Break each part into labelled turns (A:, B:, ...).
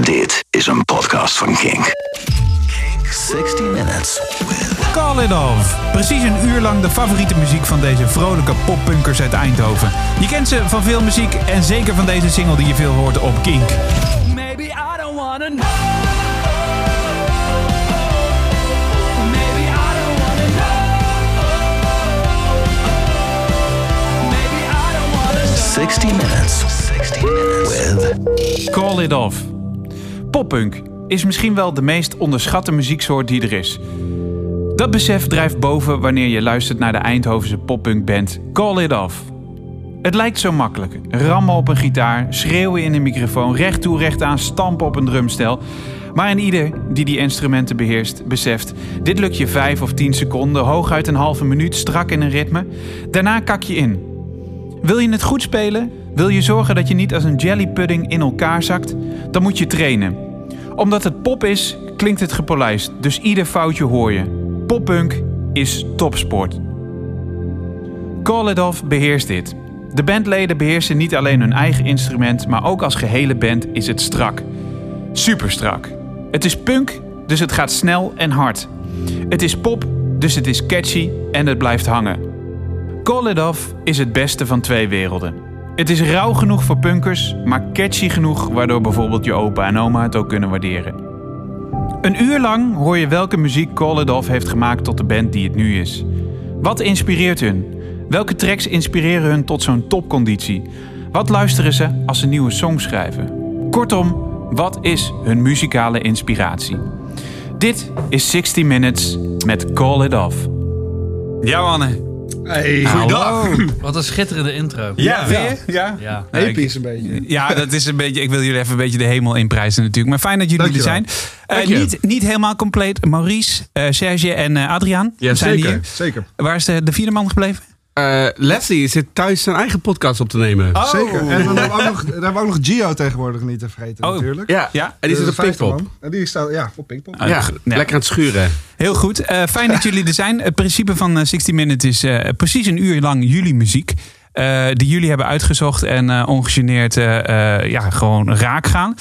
A: Dit is een podcast van Kink. 60 Minutes.
B: Call It Off. Precies een uur lang de favoriete muziek van deze vrolijke poppunkers uit Eindhoven. Je kent ze van veel muziek en zeker van deze single die je veel hoort op Kink.
C: Maybe I don't wanna know. Maybe I don't wanna know. Maybe I don't wanna know.
A: 60 Minutes. 60 Minutes. With
B: Call It Off. Poppunk is misschien wel de meest onderschatte muzieksoort die er is. Dat besef drijft boven wanneer je luistert naar de Eindhovense poppunkband Call It Off. Het lijkt zo makkelijk. Rammen op een gitaar, schreeuwen in een microfoon, recht toe recht aan, stampen op een drumstel. Maar een ieder die die instrumenten beheerst, beseft... dit lukt je 5 of 10 seconden, hooguit een halve minuut, strak in een ritme. Daarna kak je in. Wil je het goed spelen? Wil je zorgen dat je niet als een jellypudding in elkaar zakt? Dan moet je trainen. Omdat het pop is, klinkt het gepolijst, dus ieder foutje hoor je. Poppunk is topsport. Call It Off beheerst dit. De bandleden beheersen niet alleen hun eigen instrument, maar ook als gehele band is het strak. Superstrak. Het is punk, dus het gaat snel en hard. Het is pop, dus het is catchy en het blijft hangen. Call It Off is het beste van twee werelden. Het is rauw genoeg voor punkers, maar catchy genoeg waardoor bijvoorbeeld je opa en oma het ook kunnen waarderen. Een uur lang hoor je welke muziek Call It Off heeft gemaakt tot de band die het nu is. Wat inspireert hun? Welke tracks inspireren hun tot zo'n topconditie? Wat luisteren ze als ze nieuwe songs schrijven? Kortom, wat is hun muzikale inspiratie? Dit is 60 Minutes met Call It Off. Ja, Anne.
D: Hey.
E: Nou,
B: Goeiedag.
F: Wat een schitterende intro.
D: Ja,
B: weer?
D: ja.
B: Ja.
F: Ja.
B: Nou, ik-
D: Episch een beetje.
B: Ja, dat is een beetje. Ik wil jullie even een beetje de hemel inprijzen natuurlijk. Maar fijn dat jullie
D: Dankjewel.
B: er zijn. Eh, niet, niet helemaal compleet. Maurice, eh, Serge en eh, Adriaan
E: Ja,
B: zijn
E: zeker.
B: hier.
D: Zeker.
B: Waar is de, de vierde man gebleven?
E: Eh, Leslie zit thuis zijn eigen podcast op te nemen.
D: Zeker. En dan hebben, we ook nog, dan hebben we ook nog Gio tegenwoordig niet te vergeten
B: Oh.
D: natuurlijk.
E: Ja.
B: Ja.
E: en die
D: Dus
E: zit op
D: de vijfde
E: Pinkpop.
D: man. En die staat ja, op Pinkpop.
B: Ah,
E: Ja,
B: ja.
E: lekker aan het schuren.
B: Heel goed. Eh, fijn dat jullie er zijn. Het principe van eh, 60 Minutes is eh, precies een uur lang jullie muziek. eh, die jullie hebben uitgezocht en eh, ongegeneerd eh, eh, ja, gewoon raak gaan.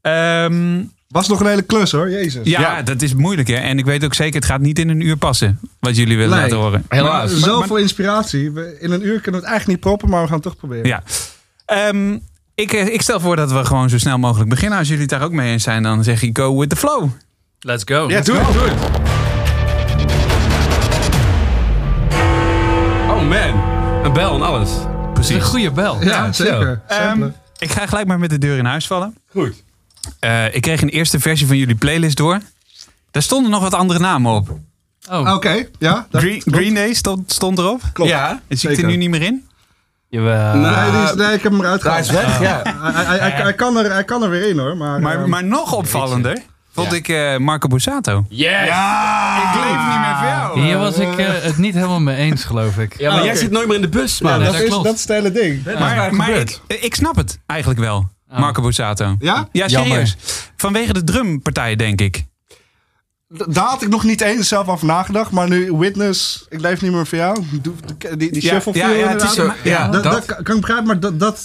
B: Ehm,
D: Was nog een hele klus hoor, jezus.
B: ja,
E: Ja.
B: dat is moeilijk hè. En ik weet ook zeker, het gaat niet in een uur passen. Wat jullie willen
D: Nee.
B: laten horen.
D: Maar
E: Helaas.
D: Zoveel inspiratie. We- In een uur kunnen we het eigenlijk niet proppen, maar we gaan het toch proberen.
B: Ja. Ehm, ik, eh, ik stel voor dat we gewoon zo snel mogelijk beginnen. Als jullie het daar ook mee eens zijn, dan zeg ik go with the flow.
F: Let's go.
D: Ja, doe het. Doe het.
E: Oh man, een bel en alles.
F: Dat is een goede bel.
D: Ja, zeker.
B: Ehm,
D: Samplen.
B: Ik ga gelijk maar met de deur in huis vallen.
E: Goed.
B: Eh, ik kreeg een eerste versie van jullie playlist door. Daar stonden nog wat andere namen op.
F: Oh,
D: Oké, ja. dat-
B: Green, Green Day stond, stond erop.
D: Klopt.
E: Ja.
B: Zit ik er
D: zeker.
B: nu niet meer in?
E: Eh,
F: jawel.
D: Nee, die is- nee, ik heb hem eruit
E: Hij is
D: gehaald. Ah.
E: weg, ja.
D: Hij, hij, hij- hij kan er, hij kan er weer in hoor. Maar,
B: Maar,
D: ehm,
B: maar nog opvallender vond ik eh, Marco Borsato.
E: Yes!
B: Ik leef niet meer voor
F: Hier was ik eh, het niet helemaal mee eens, geloof ik.
E: Ja, maar
D: Ah,
E: jij
D: oké.
E: zit nooit meer in de bus,
D: ja,
E: man.
D: dat,
F: dat
D: is,
F: klopt.
D: dat is het hele ding.
B: Maar, maar
E: gebeurd.
B: ik, Eh, ik snap het eigenlijk wel, Marco Borsato.
D: Ja?
B: Ja,
F: Jammer.
B: serieus. Vanwege de drumpartij, denk ik.
D: D- Daar had ik nog niet eens zelf over nagedacht. Maar nu Witness, ik leef niet meer voor jou. Doe- Die, die, die
B: Ja,
D: shuffle
B: ja,
D: viel
B: ja, het
D: inderdaad.
B: is zo- ja,
D: dat,
E: dat.
D: dat kan- kan ik begrijpen, maar dat... dat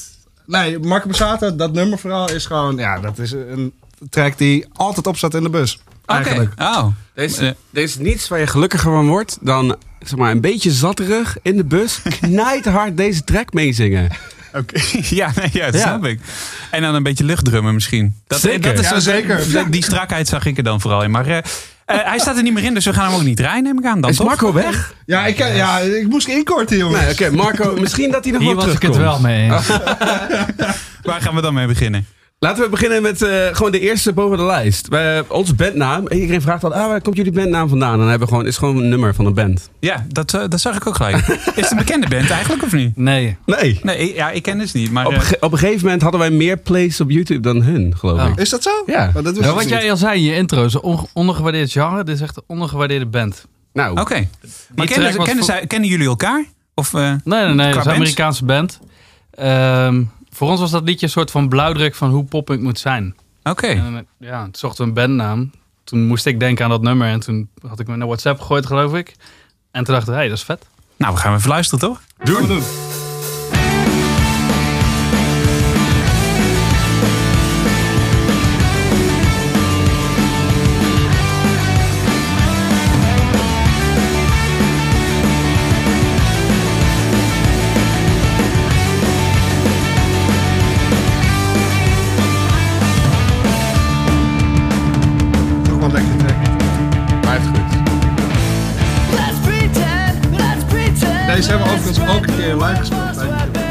D: nee, Marco Borsato, dat nummerverhaal is gewoon... Ja, dat is een track die altijd op staat in de bus. Eigenlijk.
B: Oh.
E: Er is,
B: Eh.
E: er is niets waar je gelukkiger van wordt dan zeg maar, een beetje zatterig in de bus. hard deze track meezingen.
B: Oké. ja, nee, ja, dat
E: Ja.
B: snap ik. En dan een beetje luchtdrummen misschien. Dat,
E: Zeker.
B: Dat is
D: Ja,
B: zo-
D: zeker.
B: dat- Die strakheid zag ik er dan vooral in. Maar eh, eh, hij staat er niet meer in, dus we gaan hem ook niet draaien, neem ik aan. Dan
E: Is
B: toch?
E: Marco weg?
D: Ja, ik, ja, ik moest inkorten, jongens.
E: Nee, oké, Marco, misschien dat hij nog
F: Hier
E: wel
F: was ik
E: terugkomt.
F: het wel mee eens.
B: Waar gaan we dan mee beginnen?
E: Laten we beginnen met eh, gewoon de eerste boven de lijst. Wij- onze bandnaam. En Iedereen vraagt dan, ah, waar komt jullie bandnaam vandaan? En dan hebben we gewoon, is gewoon een nummer van een band.
B: Ja, dat, eh, dat zag ik ook gelijk. Is het een bekende band eigenlijk of niet?
F: Nee.
E: Nee.
B: Nee, ik- ja, ik ken dus niet. Maar
E: Op, een
B: eh,
E: ge- op een gegeven moment hadden wij meer plays op YouTube dan hun, geloof
F: Oh.
E: ik.
D: Is dat zo?
E: Ja.
D: Maar dat wist
F: Nou,
D: ik dus
F: wat
D: niet.
F: jij al zei in je intro, is een onge- ondergewaardeerd genre. Dit is echt een ondergewaardeerde band.
E: Nou,
B: oké. Maar
F: track
B: kennen, ze-
F: was
B: kennen,
F: voor-
B: zij- kennen jullie elkaar? Of, eh,
F: Nee, nee, nee. Het is een
B: bands?
F: Amerikaanse band. Ehm, voor ons was dat liedje een soort van blauwdruk van hoe poppunk moet zijn.
B: oké.
F: En, eh, ja, toen zochten we een bandnaam. Toen moest ik denken aan dat nummer. En toen had ik me naar WhatsApp gegooid, geloof ik. En toen dacht ik, hé, hey, dat is vet.
B: Nou, we gaan even luisteren, toch?
D: Doen. Doen.
C: Maybe
D: Deze hebben we overigens ook een keer live gespeeld. bij de-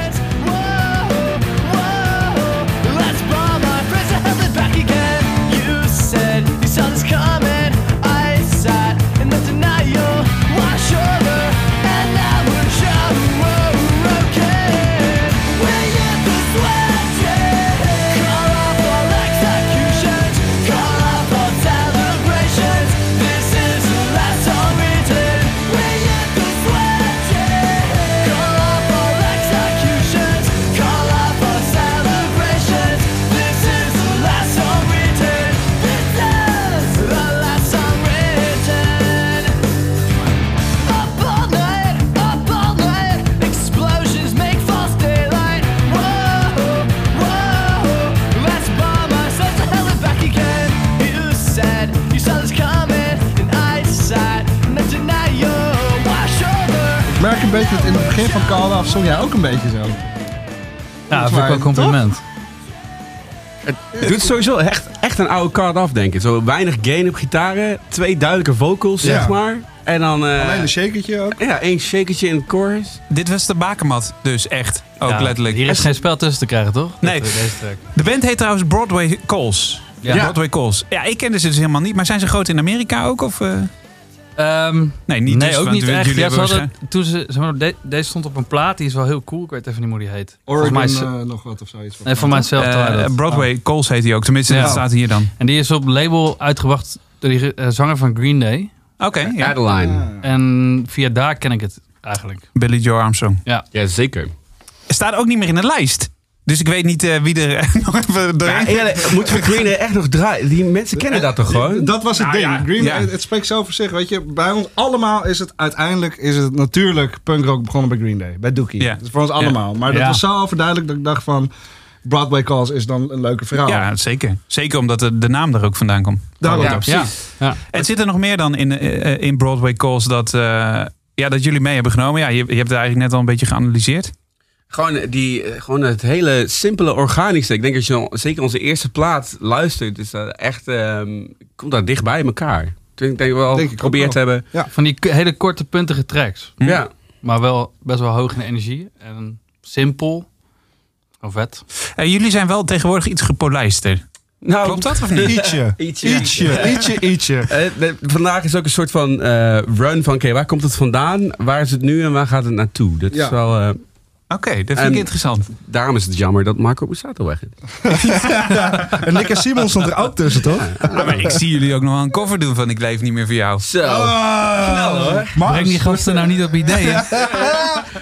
C: This is the last time we did. We hit the sweat, yeah. Call up for executions, call up for celebrations. This is the last song written. This is the last song written. Up all night, up all night. Explosions make false daylight. Whoa, whoa. Let's bomb ourselves to hell and back again. You said you saw this coming, and I decided not to deny you. Wash over.
D: Ik merk een beetje dat in het begin van Call Off zong jij ook een beetje zo.
F: Ja, dat vind ik wel een compliment.
E: Doet sowieso echt, echt een oude card af, denk ik. Zo weinig gain op gitaren, twee duidelijke vocals,
D: Ja.
E: zeg maar. En dan eh,
D: Alleen een shakertje ook.
E: ja, één shakertje in het chorus.
B: Dit was de bakermat, dus echt. Ook
F: Ja,
B: letterlijk.
F: Hier is geen spel tussen te krijgen, toch?
B: Nee.
F: Dit, eh, Deze track.
B: De band heet trouwens Broadway Calls.
F: Ja.
B: Broadway Calls. Ja, ik kende ze dus helemaal niet. Maar zijn ze groot in Amerika ook? Of, eh?
F: Ehm,
B: Nee, niet
F: nee,
B: dus,
F: ook
B: want
F: niet
B: jullie
F: echt. Ja,
B: hebben
F: ze hadden,
B: waarschijn-
F: toen ze, zeg maar, de- deze stond op een plaat, die is wel heel cool. Ik weet even niet hoe die heet.
D: Oregon
F: mij is-
D: eh, nog wat of zoiets.
F: Nee, voor mijzelf.
B: Eh, Broadway Calls heet hij ook. Tenminste,
F: Ja.
B: dat staat hier dan.
F: En die is op label uitgebracht door die eh, zanger van Green Day.
B: Oké, ja.
E: Adeline. Ja,
F: En via daar ken ik het eigenlijk.
B: Billy Joe Armstrong.
E: zeker.
B: Staat ook niet meer in de lijst. Dus ik weet niet eh, wie er eh, nog even doorheen...
E: moeten we Green Day echt nog draaien? Die mensen kennen dat toch gewoon?
D: Dat was het
B: Nou
D: ding.
B: ja,
D: Green,
B: ja.
D: Het, het spreekt zo voor zich. Weet je, bij ons allemaal is het uiteindelijk is het natuurlijk punkrock begonnen bij Green Day, bij Dookie.
B: Ja.
D: Dat is voor ons allemaal. Maar dat
F: Ja.
D: was zo overduidelijk dat ik dacht van Broadway Calls is dan een leuke verhaal.
B: Ja, zeker. Zeker omdat de, de naam er ook vandaan komt.
D: Daarom.
E: Ja,
F: Ja. ja.
B: Het zit er nog meer dan in, eh, eh, in Broadway Calls dat, eh, ja, dat jullie mee hebben genomen. Ja, je, je hebt het eigenlijk net al een beetje geanalyseerd.
E: Gewoon, die, eh, gewoon het hele simpele organische. Ik denk dat je al- zeker onze eerste plaat luistert, is dat echt, ehm, komt dat dicht bij elkaar. Toen ik denk wel
D: Denk ik ook
E: geprobeerd
D: wel.
E: hebben.
F: Van die k- hele korte, puntige tracks.
B: Hm.
E: Ja.
F: Maar wel best wel hoog in energie. En simpel. Of vet.
B: En Eh, jullie zijn wel tegenwoordig iets gepolijster.
E: Nou,
B: Klopt dat of niet?
D: Ietsje,
E: Ietsje.
D: ietsje, ietsje, ietsje.
E: Eh, de- vandaag is ook een soort van eh, run van, oké, waar komt het vandaan? Waar is het nu en waar gaat het naartoe? Dat
D: Ja.
E: is wel, eh,
B: Oké, dat vind
E: En-
B: ik interessant.
E: daarom is het jammer dat Marco Bussato weg is.
D: En Nick en Simon stond er ook tussen, toch?
B: Ah, maar ik zie jullie ook nog wel een cover doen van Ik leef niet meer voor jou.
E: Zo.
D: Ah. hoor.
F: Breng die gasten nou
D: eh,
F: niet op ideeën.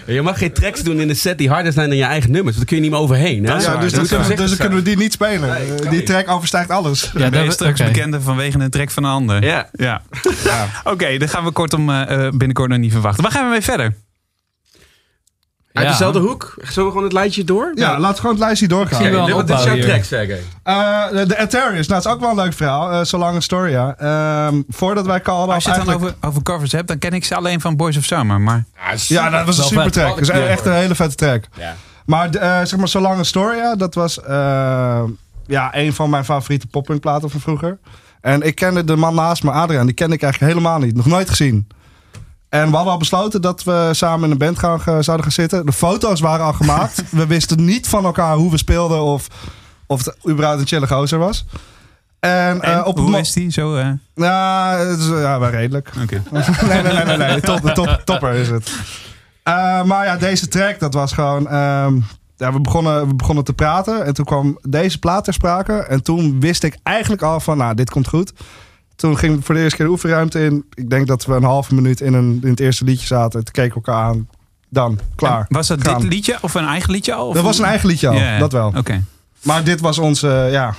E: Je mag geen tracks doen in de set die harder zijn dan je eigen nummers. Want dan kun je niet meer overheen. Hè?
D: ja, dus,
E: Dat
D: dat,
E: moet
D: dus
E: gezegd
D: dan
E: zijn.
D: kunnen we die niet spelen.
E: Nee,
D: Eh,
E: kan
D: die
E: niet.
D: track overstijgt alles.
F: Ja,
B: ben je
F: dat-
B: straks
F: oké.
B: bekender vanwege een track van een ander.
E: Ja.
B: Ja. Oké, dan gaan we kortom eh, eh, binnenkort nog niet verwachten. Waar gaan we mee verder?
E: Uit
F: Ja.
E: dezelfde hoek. Zullen we gewoon het lijntje door?
D: Ja, laat gewoon het lijstje doorgaan.
F: Zie je wel.
E: Dit-
F: een
E: dit is
F: opbouw
E: jouw
F: hier.
E: track, zeggen.
D: Eh, de, de Atarius, nou, dat is ook wel een leuk verhaal. Eh Zolang Astoria. Ehm, voordat wij Call
B: Als
D: Off
B: je het dan
D: eigenlijk...
B: over, over covers hebt, dan ken ik ze alleen van Boys of Summer. Maar
D: Ja, dat was een
F: Wel
D: super
F: vet.
D: track. Dat is
E: Alle
D: echt een hele vette track.
E: Ja.
D: Maar de, eh, zeg maar Solange Astoria, dat was eh, ja, een van mijn favoriete poppunkplaten van vroeger. En ik kende de man naast me, Adriaan, die kende ik eigenlijk helemaal niet. Nog nooit gezien. En we hadden al besloten dat we samen in een band gaan, ge- zouden gaan zitten. De foto's waren al gemaakt. we wisten niet van elkaar hoe we speelden of, of het überhaupt een chille gozer was. En, eh,
B: En
D: op het
B: hoe
D: mo-
B: is die zo? eh?
D: ja, het is, ja, wel redelijk.
B: Oké.
D: nee, nee, nee, nee, nee. Top, top, topper is het. Eh, maar ja, deze track, dat was gewoon... ehm, ja, we, begonnen, we begonnen te praten en toen kwam deze plaat ter sprake. En toen wist ik eigenlijk al van, nou, dit komt goed. Toen ging voor de eerste keer de oefenruimte in. Ik denk dat we een halve minuut in, een, in het eerste liedje zaten. Toen keken we elkaar aan. Dan, klaar.
B: Was dat
D: Gaan.
B: dit liedje of een eigen liedje al? Of
D: Dat was een eigen liedje al,
B: Ja,
D: dat wel.
B: Oké.
D: Maar dit was onze, eh, ja,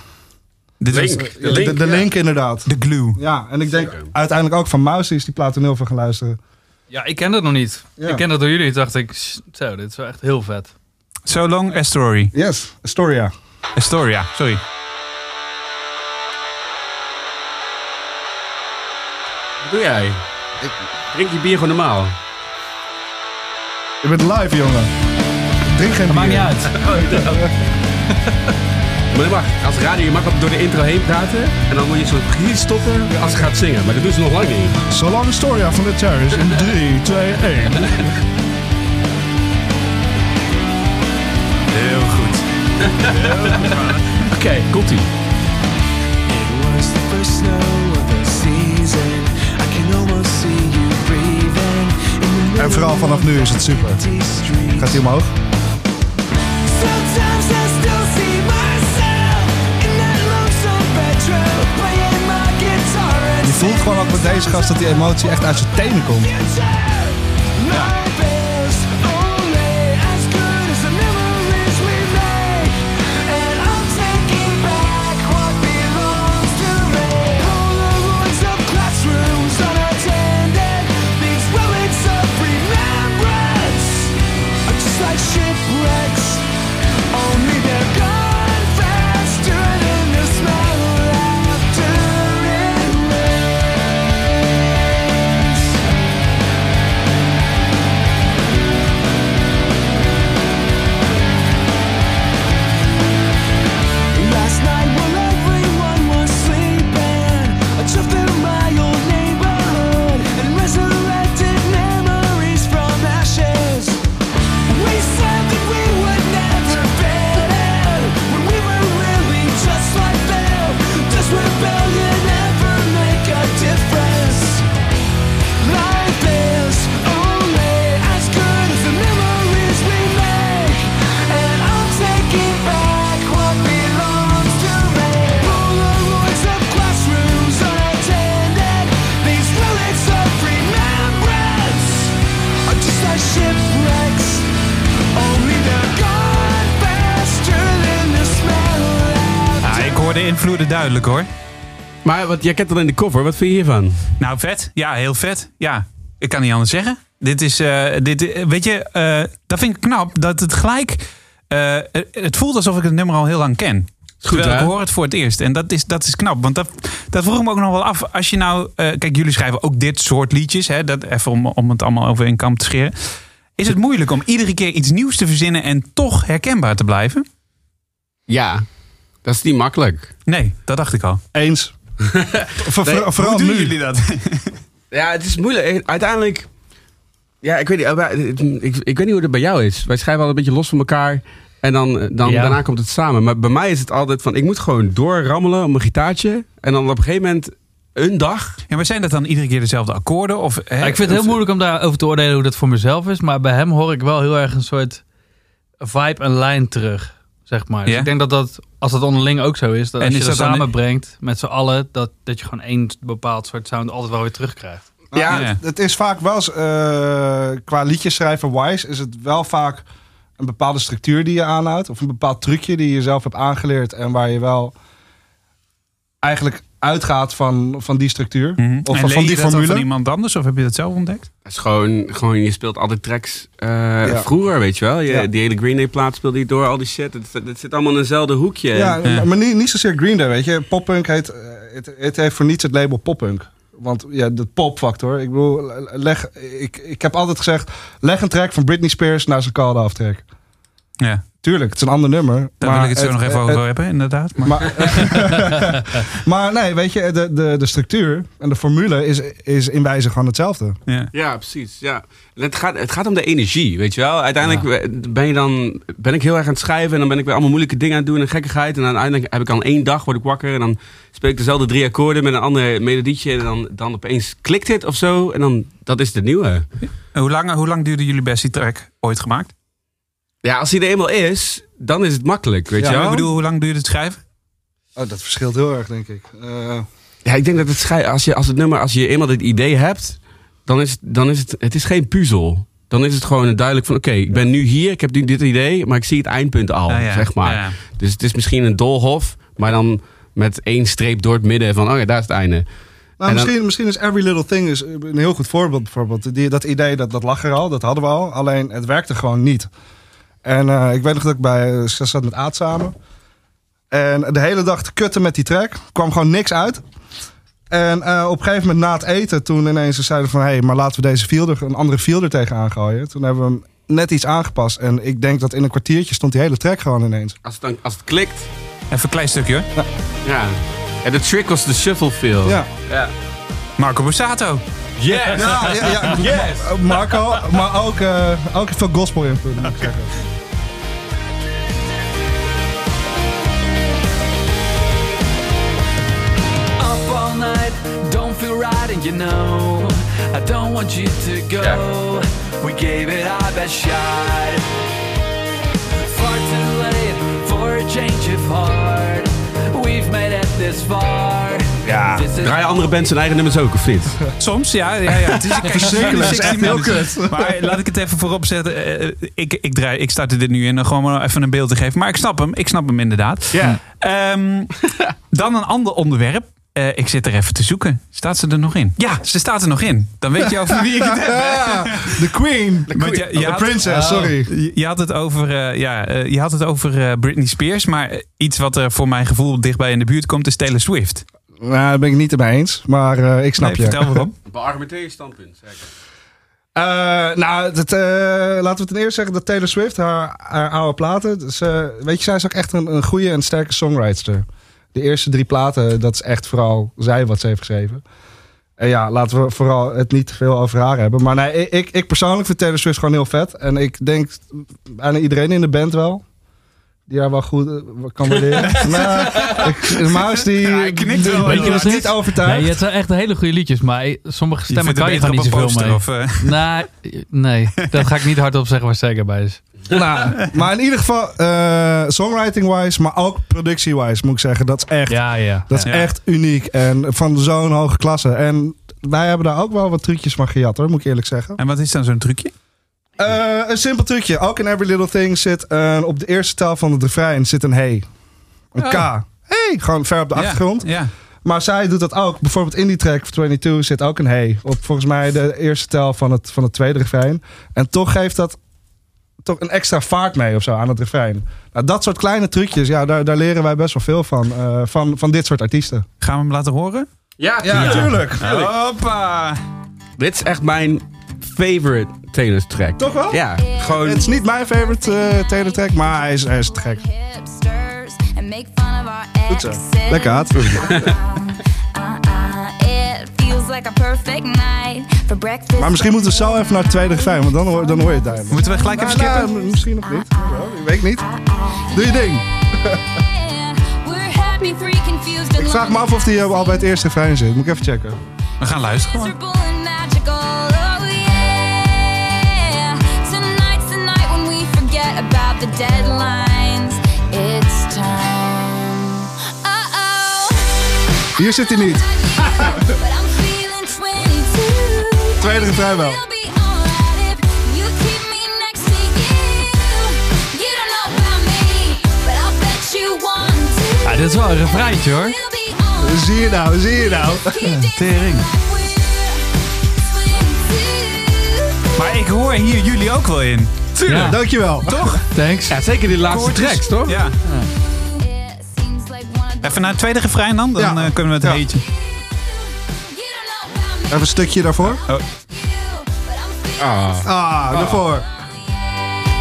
B: Dit was
E: Link.
D: de,
E: ja.
D: de, link inderdaad.
B: de glue.
D: Ja, en ik denk
E: Zeker.
D: uiteindelijk ook van Mouse is die plaat er heel veel gaan luisteren.
F: Ja, ik ken dat nog niet.
D: Ja.
F: Ik ken dat door jullie. Toen dacht ik, "Sst, zo, dit is wel echt heel vet.
B: So long Astoria.
D: Yes, Astoria.
B: Astoria, sorry.
E: Wat doe jij? Drink je bier gewoon normaal.
D: Je bent live, jongen. Drink geen bier.
F: Maakt niet uit.
E: Oh, Maar dat mag. Als radio, je mag ook door de intro heen praten. En dan moet je zo precies stoppen als ze gaat zingen. Maar dat doen ze nog lang niet.
D: Zolang Astoria van de Terrace in 3, 2, 1.
B: Oké, komt-ie.
C: It was the first snow of the season. I can almost see you breathing. In the
D: En vooral vanaf nu is het super.
C: empty street.
D: Gaat hij omhoog?
C: Sometimes I still see myself in that lonesome bedroom playing my guitar and
D: Je voelt gewoon ook met deze gast dat die emotie echt uit zijn tenen komt.
C: Shipwrecks, only they're gone faster than the smell after it rains. Last night while everyone was sleeping, I drove through my old neighborhood and resurrected memories from ashes. We said that we would never fit in when we were really just like them. Does rebellion ever make a difference? Life is only as good as the memories we make, and I'm taking back what belongs to me. Polaroids of classrooms unattended, these relics of remembrance are just like shipwrecks, only they're gone faster than the smell.
B: Ah, ik hoor de invloeden duidelijk hoor.
E: Maar wat, jij kent alleen de cover, wat vind je hiervan?
B: Nou, vet. Ja, heel vet. Ja, ik kan niet anders zeggen. Dit is, eh, dit, eh, weet je, eh, dat vind ik knap. Dat het gelijk, eh, het voelt alsof ik het nummer al heel lang ken. Terwijl
E: hè?
B: ik hoor het voor het eerst. En dat is, dat is knap. Want dat, dat vroeg ik me ook nog wel af. Als je nou, eh, kijk, jullie schrijven ook dit soort liedjes. Hè, dat, even om, om het allemaal over een kamp te scheren. Is het moeilijk om iedere keer iets nieuws te verzinnen en toch herkenbaar te blijven?
E: Ja, dat is niet makkelijk.
B: Nee, dat dacht ik al.
D: Eens. Voor-
E: Nee,
D: voor- vooral nu.
B: dat?
E: Ja, het is moeilijk. Uiteindelijk. Ja, ik weet niet, eh, ik, ik weet niet hoe dat bij jou is. Wij schrijven al een beetje los van elkaar. En dan, eh, dan,
F: Ja.
E: daarna komt het samen. Maar bij mij is het altijd van: ik moet gewoon doorrammelen op mijn gitaartje. En dan op een gegeven moment een dag.
B: Ja, maar zijn dat dan iedere keer dezelfde akkoorden? Of, hè,
F: Ja, ik vind het heel moeilijk om daarover te oordelen hoe dat voor mezelf is. Maar bij hem hoor ik wel heel erg een soort vibe en lijn terug. Zeg maar. Dus
B: Ja?
F: ik denk dat dat, als dat onderling ook zo is, dat
B: En
F: als je
B: is
F: dat,
B: dat dan-
F: samenbrengt met z'n allen, dat, dat je gewoon één bepaald soort sound altijd wel weer terugkrijgt.
E: Ja,
B: Ja.
D: Het- Het is vaak wel eens, eh, qua liedjeschrijver wise, is het wel vaak een bepaalde structuur die je aanhoudt. Of een bepaald trucje die je zelf hebt aangeleerd en waar je wel eigenlijk uitgaat van, van die structuur.
B: Mhm.
D: Of
B: En
D: van,
B: leer
D: van
B: je
D: die
B: dat dan
D: formule.
B: van iemand anders of heb je dat zelf ontdekt?
E: Het is gewoon, gewoon, je speelt altijd tracks eh, vroeger, weet je wel. Je,
D: Ja.
E: Die hele Green Day plaat speelde je door, al die shit. Het, het zit allemaal in eenzelfde hoekje.
D: ja,
B: Ja.
D: maar niet, niet zozeer Green Day, weet je. Poppunk heet, eh, het, het heeft voor niets het label poppunk. Want ja, de popfactor. Ik bedoel, leg, ik, ik heb altijd gezegd, leg een track van Britney Spears naar zijn Call Off track.
B: Ja,
D: Tuurlijk, het is een ander nummer.
B: daar
D: maar
B: wil ik het zo nog even
D: het-
B: over hebben, inderdaad. Maar,
D: Maar, maar nee, weet je, de, de, de structuur en de formule is, is in wijze gewoon hetzelfde.
B: ja.
E: Ja, precies. Ja. En Het, gaat, het gaat om de energie, weet je wel. Uiteindelijk eh, ben, je dan, ben ik heel erg aan het schrijven en dan ben ik weer allemaal moeilijke dingen aan het doen en gekkigheid. En dan uiteindelijk heb ik al één dag, word ik wakker en dan speel ik dezelfde drie akkoorden met een ander melodietje. En dan, dan opeens klikt dit of zo en dan, dat is de nieuwe.
B: En Hoe, lang, hoe lang duurde jullie best die track ooit gemaakt?
E: Ja, als die er eenmaal is, dan is het makkelijk, weet
D: Ja,
E: je
B: Ja,
E: wel.
B: ik bedoel, hoe lang duurde het schrijven?
D: Oh, dat verschilt heel erg, denk ik. Eh,
E: Ja, ik denk dat het schij- als je, als het nummer, als je eenmaal dit idee hebt, dan is, het- dan is het, het is geen puzzel. Dan is het gewoon duidelijk van, oké, ik ben nu hier, ik heb nu dit idee, maar ik zie het eindpunt al,
B: Nou ja,
E: zeg maar.
B: ja.
E: Dus het is misschien een doolhof, maar dan met één streep door het midden van, oh ja, daar is het einde.
D: nou,
E: En dan-
D: misschien, misschien is Every Little Thing is een heel goed voorbeeld. Bijvoorbeeld. Die, dat idee, dat, dat lag er al, dat hadden we al. Alleen het werkte gewoon niet. En eh, ik weet nog dat ik bij eh, ze zat met Aad samen. En de hele dag te kutten met die track. kwam gewoon niks uit. En eh, op een gegeven moment na het eten, toen ineens ze zeiden van... hé, hey, maar laten we deze fielder, een andere fielder tegenaan gooien. Toen hebben we hem net iets aangepast. En ik denk dat in een kwartiertje stond die hele track gewoon ineens.
E: Als het, dan, als het klikt,
B: Even een klein stukje hoor.
E: ja. En de trick was de shuffle feel.
D: Ja,
B: Marco Borsato.
E: Yes!
D: ja, ja, ja. Ma- Marco, maar ook, eh, ook veel gospel invloed, moet ik zeggen.
C: Thank and you know I don't want you to go. We gave it our best shot. Far too late for a change of heart. We've made it this far.
E: Ja,
C: This is-
E: Ah. draaien andere bands hun eigen nummers ook, of niet?
B: Soms, ja. ja, ja. Het is, kijk,
D: verschrikkelijk.
B: het is
D: Het is echt heel
B: 16 minuten. Maar laat ik het even voorop zetten. Eh, ik, ik, draai, ik startte dit nu in, eh, gewoon maar even een beeld te geven. Maar ik snap hem. Ik snap hem inderdaad.
D: Ja.
B: Ehm, dan een ander onderwerp. Eh, ik zit er even te zoeken. Staat ze er nog in? Ja, ze staat er nog in. Dan weet je over wie ik het heb.
D: De Ah, Queen. Oh, De
B: Want je- je had- Oh. Ah.
D: Princess, sorry.
B: Je- Je had het over, eh, ja, eh, je had het over eh, Britney Spears. Maar eh, iets wat er voor mijn gevoel dichtbij in de buurt komt is Taylor Swift.
D: Nou, daar ben ik niet erbij eens. Maar eh, ik snap
B: Nee,
D: je.
B: Vertel waarom.
E: Beargumenteer je standpunt, zeker.
D: Eh, nou, dat, eh, laten we ten eerste zeggen dat Taylor Swift, haar, haar oude platen. Dus, eh, weet je, zij is ook echt een, een goede en sterke songwriter. De eerste drie platen, dat is echt vooral zij wat ze heeft geschreven. En ja, laten we vooral het niet te veel over haar hebben. Maar nee, ik, ik, ik persoonlijk vind Taylor Swift gewoon heel vet. En ik denk aan iedereen in de band wel. Die haar wel goed eh, kan waarderen. nou, ik, Maus die...
B: Ja, hij knikt wel,
D: die-
B: Weet
F: je
D: die
F: wat
D: is
F: het
D: niet
F: is?
D: overtuigd.
F: Nee, het zijn echt hele goede liedjes, maar sommige stemmen
B: vindt
F: kan je
B: het
F: gewoon niet
B: beter op
F: zoveel
B: een
F: mee.
B: poster, of, eh?
F: Nee, nee, dat ga ik niet hardop zeggen waar zeker bij is.
D: Nou, maar in ieder geval, eh, songwriting-wise, maar ook productie-wise, moet ik zeggen. Dat is echt,
F: Ja, ja.
D: dat is
B: Ja.
D: echt uniek. En van zo'n hoge klasse. En wij hebben daar ook wel wat trucjes van gejat, hoor, moet ik eerlijk zeggen.
B: En wat is dan zo'n trucje?
D: Eh, een simpel trucje. Ook in Every Little Thing zit eh, op de eerste taal van het refrein zit een hey. Een
B: Oh.
D: K. Hey, gewoon ver op de
B: Ja,
D: achtergrond.
B: Ja.
D: Maar zij doet dat ook. Bijvoorbeeld in die track van 22 zit ook een hey. Op volgens mij de eerste tel van het, van het tweede refrein. En toch geeft dat toch een extra vaart mee of zo aan het refrein. Nou, dat soort kleine trucjes, ja, daar, daar leren wij best wel veel van. eh, van, van dit soort artiesten.
B: Gaan we hem laten horen?
E: Ja,
D: tuurlijk.
B: Hoppa!
E: Dit is echt mijn favorite Taylor's track.
D: Toch wel?
E: Ja, gewoon...
D: Het is niet mijn favorite eh teletrack, maar hij is, hij is te gek.
G: Goed zo.
D: Lekker hard. Maar misschien moeten we zo even naar het tweede refrein, want dan hoor, dan hoor je het daar.
B: Moeten we gelijk even
D: Nou, nou,
B: skippen?
D: misschien nog niet. Ik weet niet. Doe je ding. Ik vraag me af of die eh, al bij het eerste refrein zit. Moet ik even checken.
B: We gaan luisteren. gewoon.
G: oh About the deadlines, it's time. Uh oh.
D: Hier zit hij niet. Tweede refrein wel.
F: Ja, dit is wel een refreintje hoor.
D: Zie je nou, zie je nou.
B: Tering. Maar ik hoor hier jullie ook wel in.
F: Tuurlijk. Ja.
D: Dankjewel.
B: Toch?
F: Thanks.
E: Ja, zeker die laatste
B: Koortjes.
E: tracks, toch?
B: Ja. Even naar het tweede refrein dan. Dan
D: Ja.
B: eh, kunnen we het
D: Ja.
B: heetje.
D: Even een stukje daarvoor.
E: Ah.
D: Ah, daarvoor.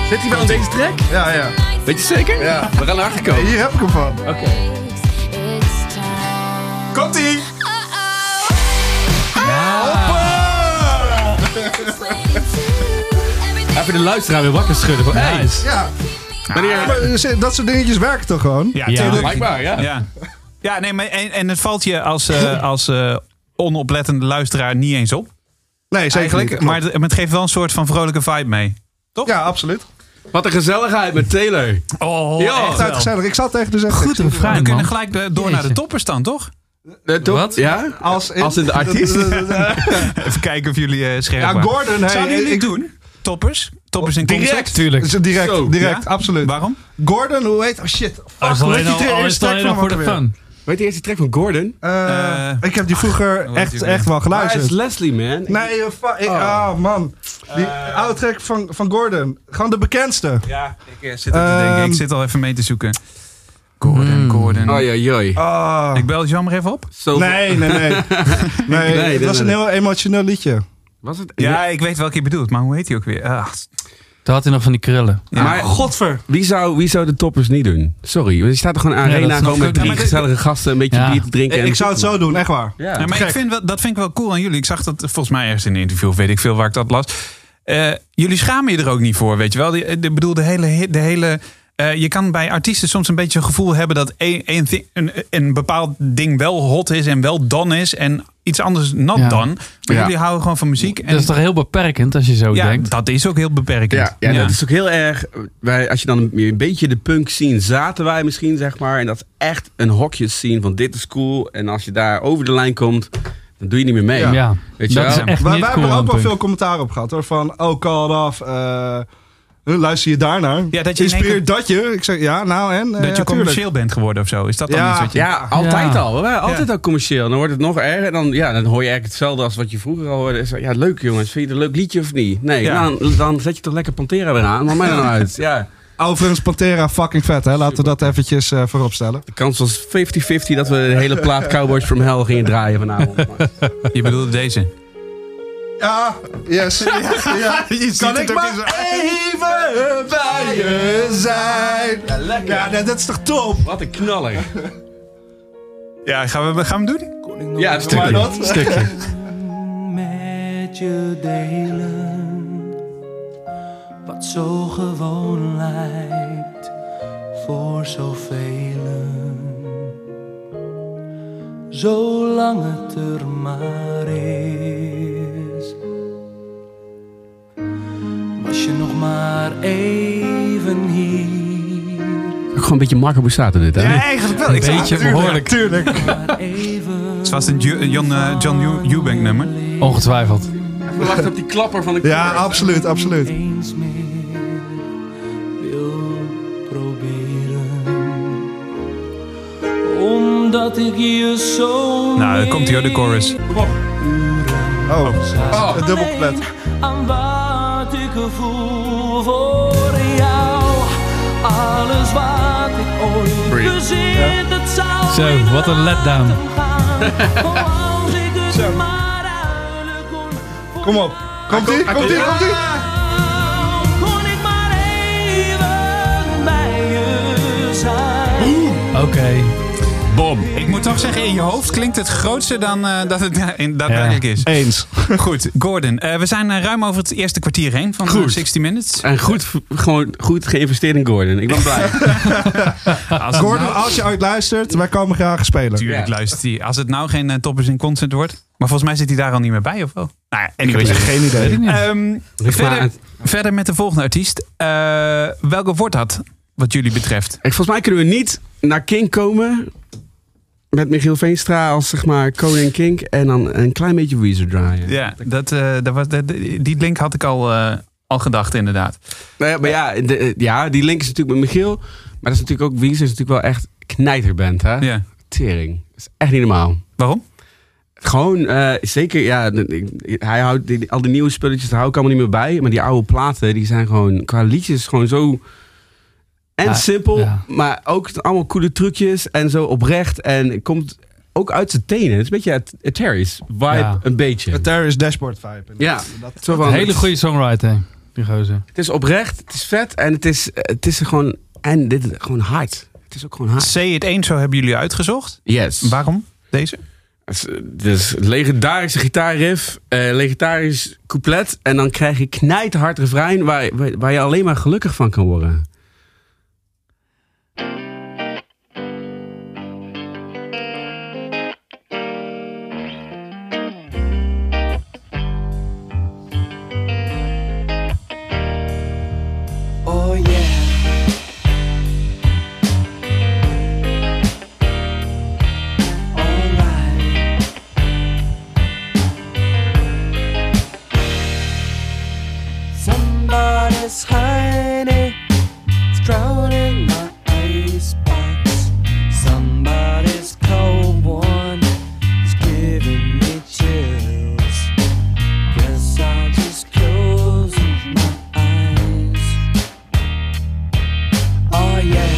E: Zit hij wel in deze track?
D: Ja, ja.
E: Weet je zeker?
D: Ja.
E: We gaan erachter komen.
D: Hier heb ik hem van.
B: Komt-ie!
C: Ah!
E: Even de luisteraar weer wakker schudden. Van, hey,
D: Ja.
E: Wanneer-
D: Maar, eh, dat soort dingetjes werken toch gewoon?
B: Ja,
F: Ja.
B: tuurlijk.
E: Blijkbaar, ja.
B: Ja. Ja, nee, maar en, en het valt je als, eh, als eh, onoplettende luisteraar niet eens op.
D: Nee, zeker
B: Eigenlijk.
D: niet.
B: Maar het, maar het geeft wel een soort van vrolijke vibe mee.
D: Ja, absoluut.
E: Wat een gezelligheid met Taylor.
B: Oh,
E: Ja.
D: Het is gezellig. Ik zat tegen de zeggen.
F: Goed refrein
B: We
F: man.
B: kunnen gelijk eh, door naar de toppers dan, toch?
E: Eh, toch?
F: Wat?
E: Ja?
D: Als in,
E: Als in de artiest.
B: Even kijken of jullie eh scherp
D: Ja,
B: waren.
D: Gordon. Hey,
B: Zouden jullie
D: ik,
B: het doen? Toppers? Toppers in concert?
E: Direct.
F: Tuurlijk.
D: Zo, direct,
E: Zo.
D: direct,
B: Ja?
D: absoluut.
B: Waarom?
D: Gordon, hoe heet... Oh shit. Fuck,
F: Dat is
D: hoe
F: alleen
D: heet
F: al,
D: die
F: al
D: eerste
F: is het
D: track
F: alleen
D: van
F: al voor de
D: hem ook alweer?
F: fun.
E: Weet je eerst die track van Gordon?
D: Eh,
B: Eh,
D: ik heb die vroeger
B: heet
D: echt,
B: die ook
D: echt wel
E: Waar is
D: geluisterd.
E: Leslie, man?
D: Nee, eh, fa- ik-
B: Oh.
D: ah man. Die oude track van, van Gordon. Gewoon de bekendste.
B: Ja, Eh. ik eh, zit er te denken.
D: Ehm,
B: Ik zit al even mee te zoeken. Gordon, Gordon.
E: Oh, joi, joi.
D: Ah.
B: Ik bel Jan maar even op.
E: Zo-
D: Nee, nee, nee. nee,
E: nee,
D: het was
E: nee,
D: een heel emotioneel liedje.
E: Was het?
B: Ja, ik weet welke je bedoelt, maar hoe heet hij ook weer? Ah,
F: Toen had hij nog van die krullen.
B: ja.
E: Maar
D: Godver.
E: wie zou, wie zou de toppers niet doen? Sorry, want je staat er gewoon aan
F: Ja,
E: arena
F: dat snap
E: gewoon met
F: ik.
E: drie
F: Ja, maar dit-
E: gezellige gasten een beetje
F: Ja.
E: bier te drinken. en-
D: Ik zou het zo doen, echt waar.
E: Ja.
B: Ja, maar ik vind wel, dat vind ik wel cool aan jullie. Ik zag dat volgens mij ergens in een interview, of weet ik veel waar ik dat las. Eh, jullie schamen je er ook niet voor, weet je wel. Die- Ik bedoel, de hele... hit- De hele eh, je kan bij artiesten soms een beetje een gevoel hebben dat een, een, thi- een, een bepaald ding wel hot is en wel dan is. En iets anders nat
F: Ja.
B: dan. Maar
E: Ja.
B: jullie houden gewoon van muziek. En
F: Dat is toch heel beperkend als je zo
B: ja,
F: denkt.
B: dat is ook heel beperkend.
E: Ja, ja, dat is ook heel erg. eh, Wij, als je dan een, een beetje de punk scene zaten wij misschien, zeg maar. En dat is echt een hokje scene van dit is cool. En als je daar over de lijn komt, dan doe je niet meer mee.
F: Ja,
E: Weet je
F: dat
E: wel?
F: is echt
D: Maar wij
F: niet cool.
D: hebben ook wel
F: aan
D: veel
F: punk.
D: commentaar op gehad hoor. Van, oh, call off. eh, luister je daarnaar?
B: Ja, dat je in één
D: Inspireert dat je? Ik zeg, ja, nou en?
B: Dat
D: Eh, ja,
B: je commercieel
D: tuurlijk.
B: bent geworden of zo. Is dat dan
D: Ja.
B: iets wat je...
E: Ja, altijd
F: Ja.
E: al. We waren altijd al commercieel. Dan wordt het nog erger. Dan, ja, dan hoor je eigenlijk hetzelfde als wat je vroeger al hoorde. Is, Ja, leuk jongens. Vind je het een leuk liedje of niet? Nee,
B: Ja.
E: dan, dan zet je toch lekker Pantera weer aan. Maakt mij dan uit. Ja.
D: Overigens, Pantera fucking vet hè. Laten we dat eventjes eh vooropstellen.
E: De kans was 50-50 dat we de hele plaat Cowboys from Hell gingen draaien vanavond. Maar-
B: Je bedoelde deze.
D: Ja, Ah, yes. ja, ja. Kan ik maar even bij je zijn? Ja, lekker. Ja, dat, dat is toch top?
E: Wat een knaller.
B: Ja, gaan we, gaan we hem doen?
E: Ja, een stukje.
D: dat?
E: stukje.
C: met je delen. Wat zo gewoon lijkt voor zoveel. Zolang het er maar is. Was je nog maar even hier.
E: Ook Gewoon een beetje Marco Bussato dit, hè?
B: eigenlijk wel. Ik
F: Een beetje behoorlijk.
C: Maar even.
B: Het was een Ju- een John, eh, John Hu- Eubank nummer. Nou,
F: Ongetwijfeld.
E: We wachten op die klapper van de
D: Ja, absoluut, absoluut.
C: eens meer wil proberen. Omdat ik je zo.
B: Nou, dan komt hij de chorus.
D: Oh, een dubbel plet.
C: Aan wat ik voel voor jou. Alles wat ik ooit
E: Free.
C: bezit, dat zou
F: Zo,
C: ik
F: wat een letdown.
C: laten gaan. Oh, als ik het
D: Zo.
C: maar huilen kon voor
D: Kom op. Komt ie, komt ie, komt ie.
C: Kon ik maar even bij je zijn.
F: Oké.
B: Bom. Ik moet toch zeggen, in je hoofd klinkt het grootste dan eh, dat het da- in- daadwerkelijk is.
D: Eens.
B: Goed, Gordon. eh, we zijn eh, ruim over het eerste kwartier heen van eh,
E: Goed.
B: 60 Minutes.
E: En goed, gewoon goed geïnvesteerd in Gordon. Ik ben blij.
B: Als het
D: Gordon,
B: nou-
D: als je ooit luistert, wij komen graag spelen.
B: Tuurlijk
E: Ja.
B: luistert hij. Als het nou geen eh, toppers in concert wordt. Maar volgens mij zit hij daar al niet meer bij, of wel? Nou ja, anyways.
D: Geen idee.
B: Ehm,
E: Ligt maar
B: verder,
E: aan-
B: verder met de volgende artiest. Eh, welke wordt dat, wat jullie betreft?
E: Ik, volgens mij kunnen we niet naar King komen met Michiel Veenstra als zeg maar koning King en dan een klein beetje Weezer draaien.
B: Ja, dat, eh, dat was, dat- die link had ik al, eh, al gedacht, inderdaad.
E: Nou ja, maar ja, de- ja, die link is natuurlijk met Michiel, maar dat is natuurlijk ook Weezer is natuurlijk wel echt knijterband hè.
B: Ja.
E: Tering, dat is echt niet normaal.
B: Waarom?
E: Gewoon, eh, zeker, ja, de- ik- hij houdt die- al die nieuwe spulletjes, daar hou ik allemaal niet meer bij. Maar die oude platen, die zijn gewoon qua liedjes gewoon zo. En
F: Ja,
E: simpel,
F: ja.
E: maar ook allemaal coole trucjes en zo oprecht. En het komt ook uit zijn tenen. Het is een beetje het, het Terry's vibe,
F: Ja.
E: een beetje.
D: Een terrorist dashboard vibe.
E: Ja,
D: Dat,
E: zo van,
F: Een hele
E: het-
F: goede songwriter, die gozer.
E: Het is oprecht, het is vet en het is, het is gewoon, en dit is gewoon hard. Het is ook gewoon hard.
B: Say It Ain't Zo hebben jullie uitgezocht.
E: Yes.
B: Waarom deze?
E: Het is- Het is een legendarische gitaarriff, eh legendarisch couplet. En dan krijg je knijterhard refrein waar, waar, waar je alleen maar gelukkig van kan worden.
C: Oh yeah. Alright. Somebody's hiding, it's crowding my icebox. Somebody's cold one is giving me chills. Guess I'll just close my eyes. Oh yeah.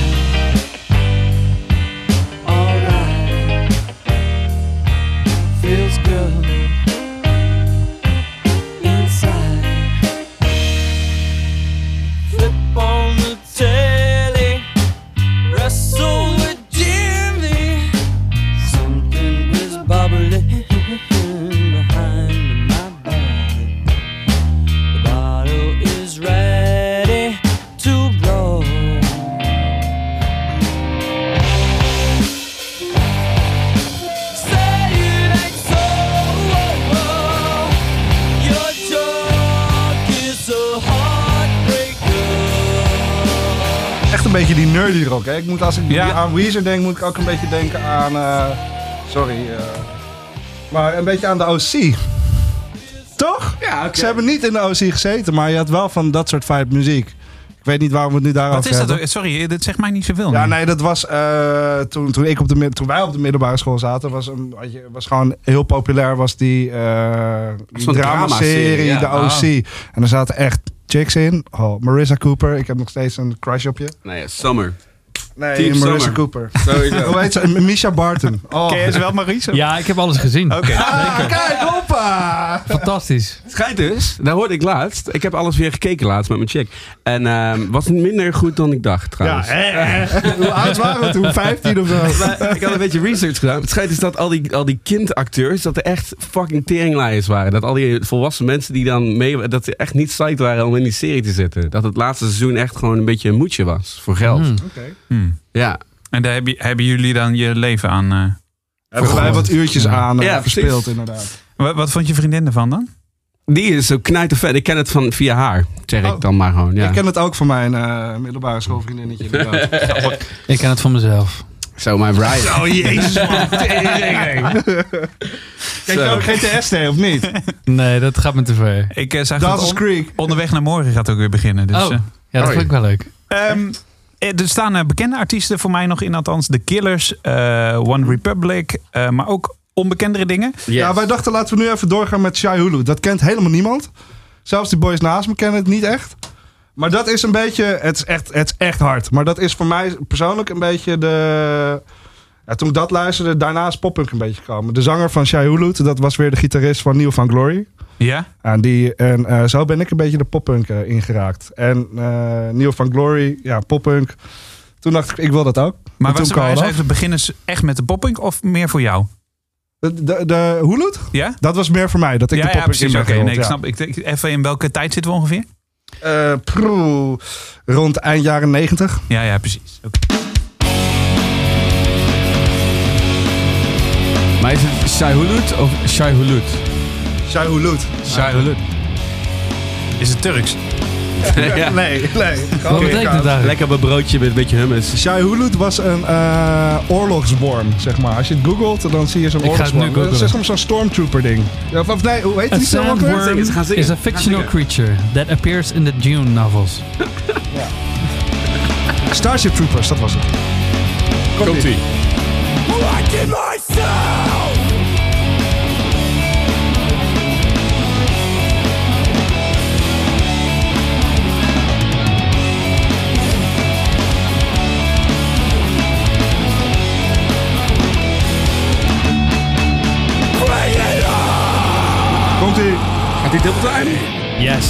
C: Alright. Feels good. Inside. Flip on the telly. Wrestle with Jimmy. Something was bubbling behind my back. The bottle is ready to blow. Say it ain't so. oh,
D: beetje die nerdy rock. Hè? Ik moet, als ik
B: Ja.
D: aan Weezer denk, moet ik ook een beetje denken aan... eh, sorry. eh, maar een beetje aan de OC. Toch?
E: Ja, oké.
D: Ze hebben niet in de OC gezeten, maar je had wel van dat soort vibe muziek. Ik weet niet waarom we het nu daarover
B: Wat is dat?
D: hebben.
B: ook? Sorry, dit zegt mij niet
E: Oh.
B: zoveel.
D: Ja,
B: nu.
D: nee, dat was eh, toen, toen, ik op de, mid- toen wij op de middelbare school zaten, was, een, had je- was gewoon heel populair was die, eh die
E: Zo'n
D: dramaserie,
E: dramaserie, ja.
D: de
E: Ah.
D: OC. En er zaten echt chicks in. Oh, Marissa Cooper, ik heb nog steeds een crush op je.
E: Nou ja, Summer.
D: Nee,
E: Team
D: Marissa
E: Summer.
D: Cooper.
E: Sowieso.
D: Hoe heet ze? M- Misha Barton. Oh.
B: Ken je ze wel, Maurice?
F: Ja, ik heb alles gezien.
D: Ah, kijk, hoppa!
F: Fantastisch.
E: Het schijnt dus, daar hoorde ik laatst. Ik heb alles weer gekeken laatst met mijn chick. En ehm, was minder goed dan ik dacht
D: Ja,
E: trouwens.
D: hè, hè. Dus, eh, Hoe oud waren we toen? 15 of zo?
E: Maar Eh, ik had een beetje research gedaan. Het schijnt dus dat al die, al die kindacteurs, dat er echt fucking teringlaaiers waren. Dat al die volwassen mensen die dan mee, dat ze echt niet psyched waren om in die serie te zitten. Dat het laatste seizoen echt gewoon een beetje een moedje was voor geld.
F: Hmm.
D: Oké.
E: Ja.
B: En daar heb je- hebben jullie dan je leven aan. eh.
D: Hebben wij wat uurtjes aan eh,
E: Ja, precies.
D: verspeeld, inderdaad.
B: Wa- Wat, vond je vriendin ervan dan?
E: Die is zo knijtervet. Ik ken het van via haar, zeg ik
D: Oh.
E: dan maar gewoon. Ja.
D: Ik ken het ook van mijn eh, middelbare schoolvriendinnetje, inderdaad.
F: Ik ken het van mezelf.
E: Zo, mijn Brian.
D: Oh jezus man. Kijk nou, je ook GTSD of niet?
F: Nee, dat gaat me te ver.
B: Ik eh, zag dat
D: Dawson's
B: on-
D: Creek.
B: onderweg naar morgen gaat ook weer beginnen. Dus,
F: oh,
B: eh.
F: ja, dat
E: oh,
F: vind ik wel leuk.
B: Ehm, eh, er staan eh, bekende artiesten voor mij nog in, althans The Killers, eh, One Republic, eh, maar ook onbekendere dingen.
D: Ja, Nou, wij dachten laten we nu even doorgaan met Shai Hulu. Dat kent helemaal niemand. Zelfs die boys naast me kennen het niet echt. Maar dat is een beetje, het is echt, het is echt hard. Maar dat is voor mij persoonlijk een beetje de... Ja, toen ik dat luisterde, daarna is poppunk een beetje gekomen. De zanger van Shai Hulu, dat was weer de gitarist van New Van Glory.
B: Ja,
D: En, die, en eh, zo ben ik een beetje de poppunk eh, ingeraakt. En eh Neil van Glory, ja, poppunk. Toen dacht ik, ik wil dat ook.
B: maar
D: En toen
B: was
D: kwam
B: waren
D: het
B: ze de beginners echt met de popping of meer voor jou?
D: af. De, de, de Hoeloed?
B: Ja?
D: Dat was meer voor mij, dat ik
B: ja,
D: de
B: ja,
D: poppunk in
B: precies.
D: ben
B: Oké,
D: gerold,
B: nee, ik
D: ja.
B: snap. Ik, denk even in welke tijd zitten we ongeveer?
D: Eh, proe, rond eind jaren negentig.
B: Ja, ja, precies. Oké.
E: Maar is het Shai Hulud of Shai Hulud?
D: Shai Houloud.
E: Shai Hulud.
D: Ah.
B: Is het Turks?
E: Ja.
D: Nee, nee.
F: Wat betekent het eigenlijk?
E: Lekker op een broodje met een beetje hummus.
D: Shai Houloud was een eh, oorlogsworm, zeg maar. Als je het googelt, dan zie je zo'n
F: Ik ga het nu
D: oorlogsworm. Dat is
F: googelen.
D: zeg maar zo'n stormtrooper ding. Of, of nee, hoe heet
F: A
D: die zo ook weer?
F: sandworm
E: Ze gaan zingen.
F: is a fictional creature that appears in the Dune novels.
D: Starship Troopers, dat was het.
E: Komt-ie.
D: Komt ie.
E: Gaat die dubbeltime?
F: Yes.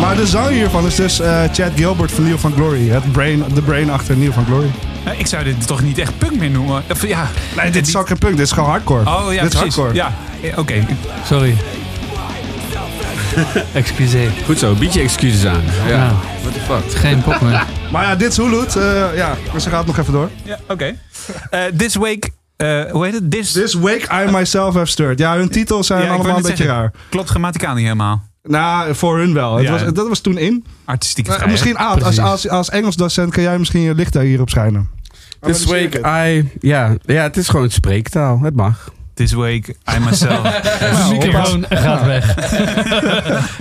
D: Maar de zanger hiervan is dus eh, Chad Gilbert van Neil van Glory. Het brain, de brain achter Neil van Glory.
B: Nou, ik zou dit toch niet echt punk meer noemen? Of, ja. Eh,
D: Nee, dit is ook geen punk. Dit is gewoon hardcore.
B: Oh ja,
D: dit is
B: precies.
D: hardcore.
B: Ja, eh, oké.
F: Sorry. Excuseer.
E: Goed zo, bied je excuses aan. Ja.
F: Ja.
E: What the fuck?
F: Geen pop meer.
D: Maar ja, dit is Houloud. eh, ja, dus ze gaat nog even door.
B: Ja, oké. Eh, this Week, eh, hoe heet het? This,
D: This wake I myself have stirred. Ja, hun titels zijn
B: Ja, ik wou
D: allemaal een
B: net
D: beetje
B: zeggen.
D: raar.
B: klopt grammaticaal niet helemaal.
D: Nou, voor hun wel. Het
B: Ja.
D: was, dat was toen in.
B: Artistieke
D: Eh,
B: schrijver.
D: misschien Aad, als,
F: Precies.
D: als, als Engels docent kan jij misschien je licht daar hierop schijnen.
E: This week I... Ja, ja, het is gewoon spreektaal. Het mag.
B: This Week, I Myself.
F: De microfoon gaat weg.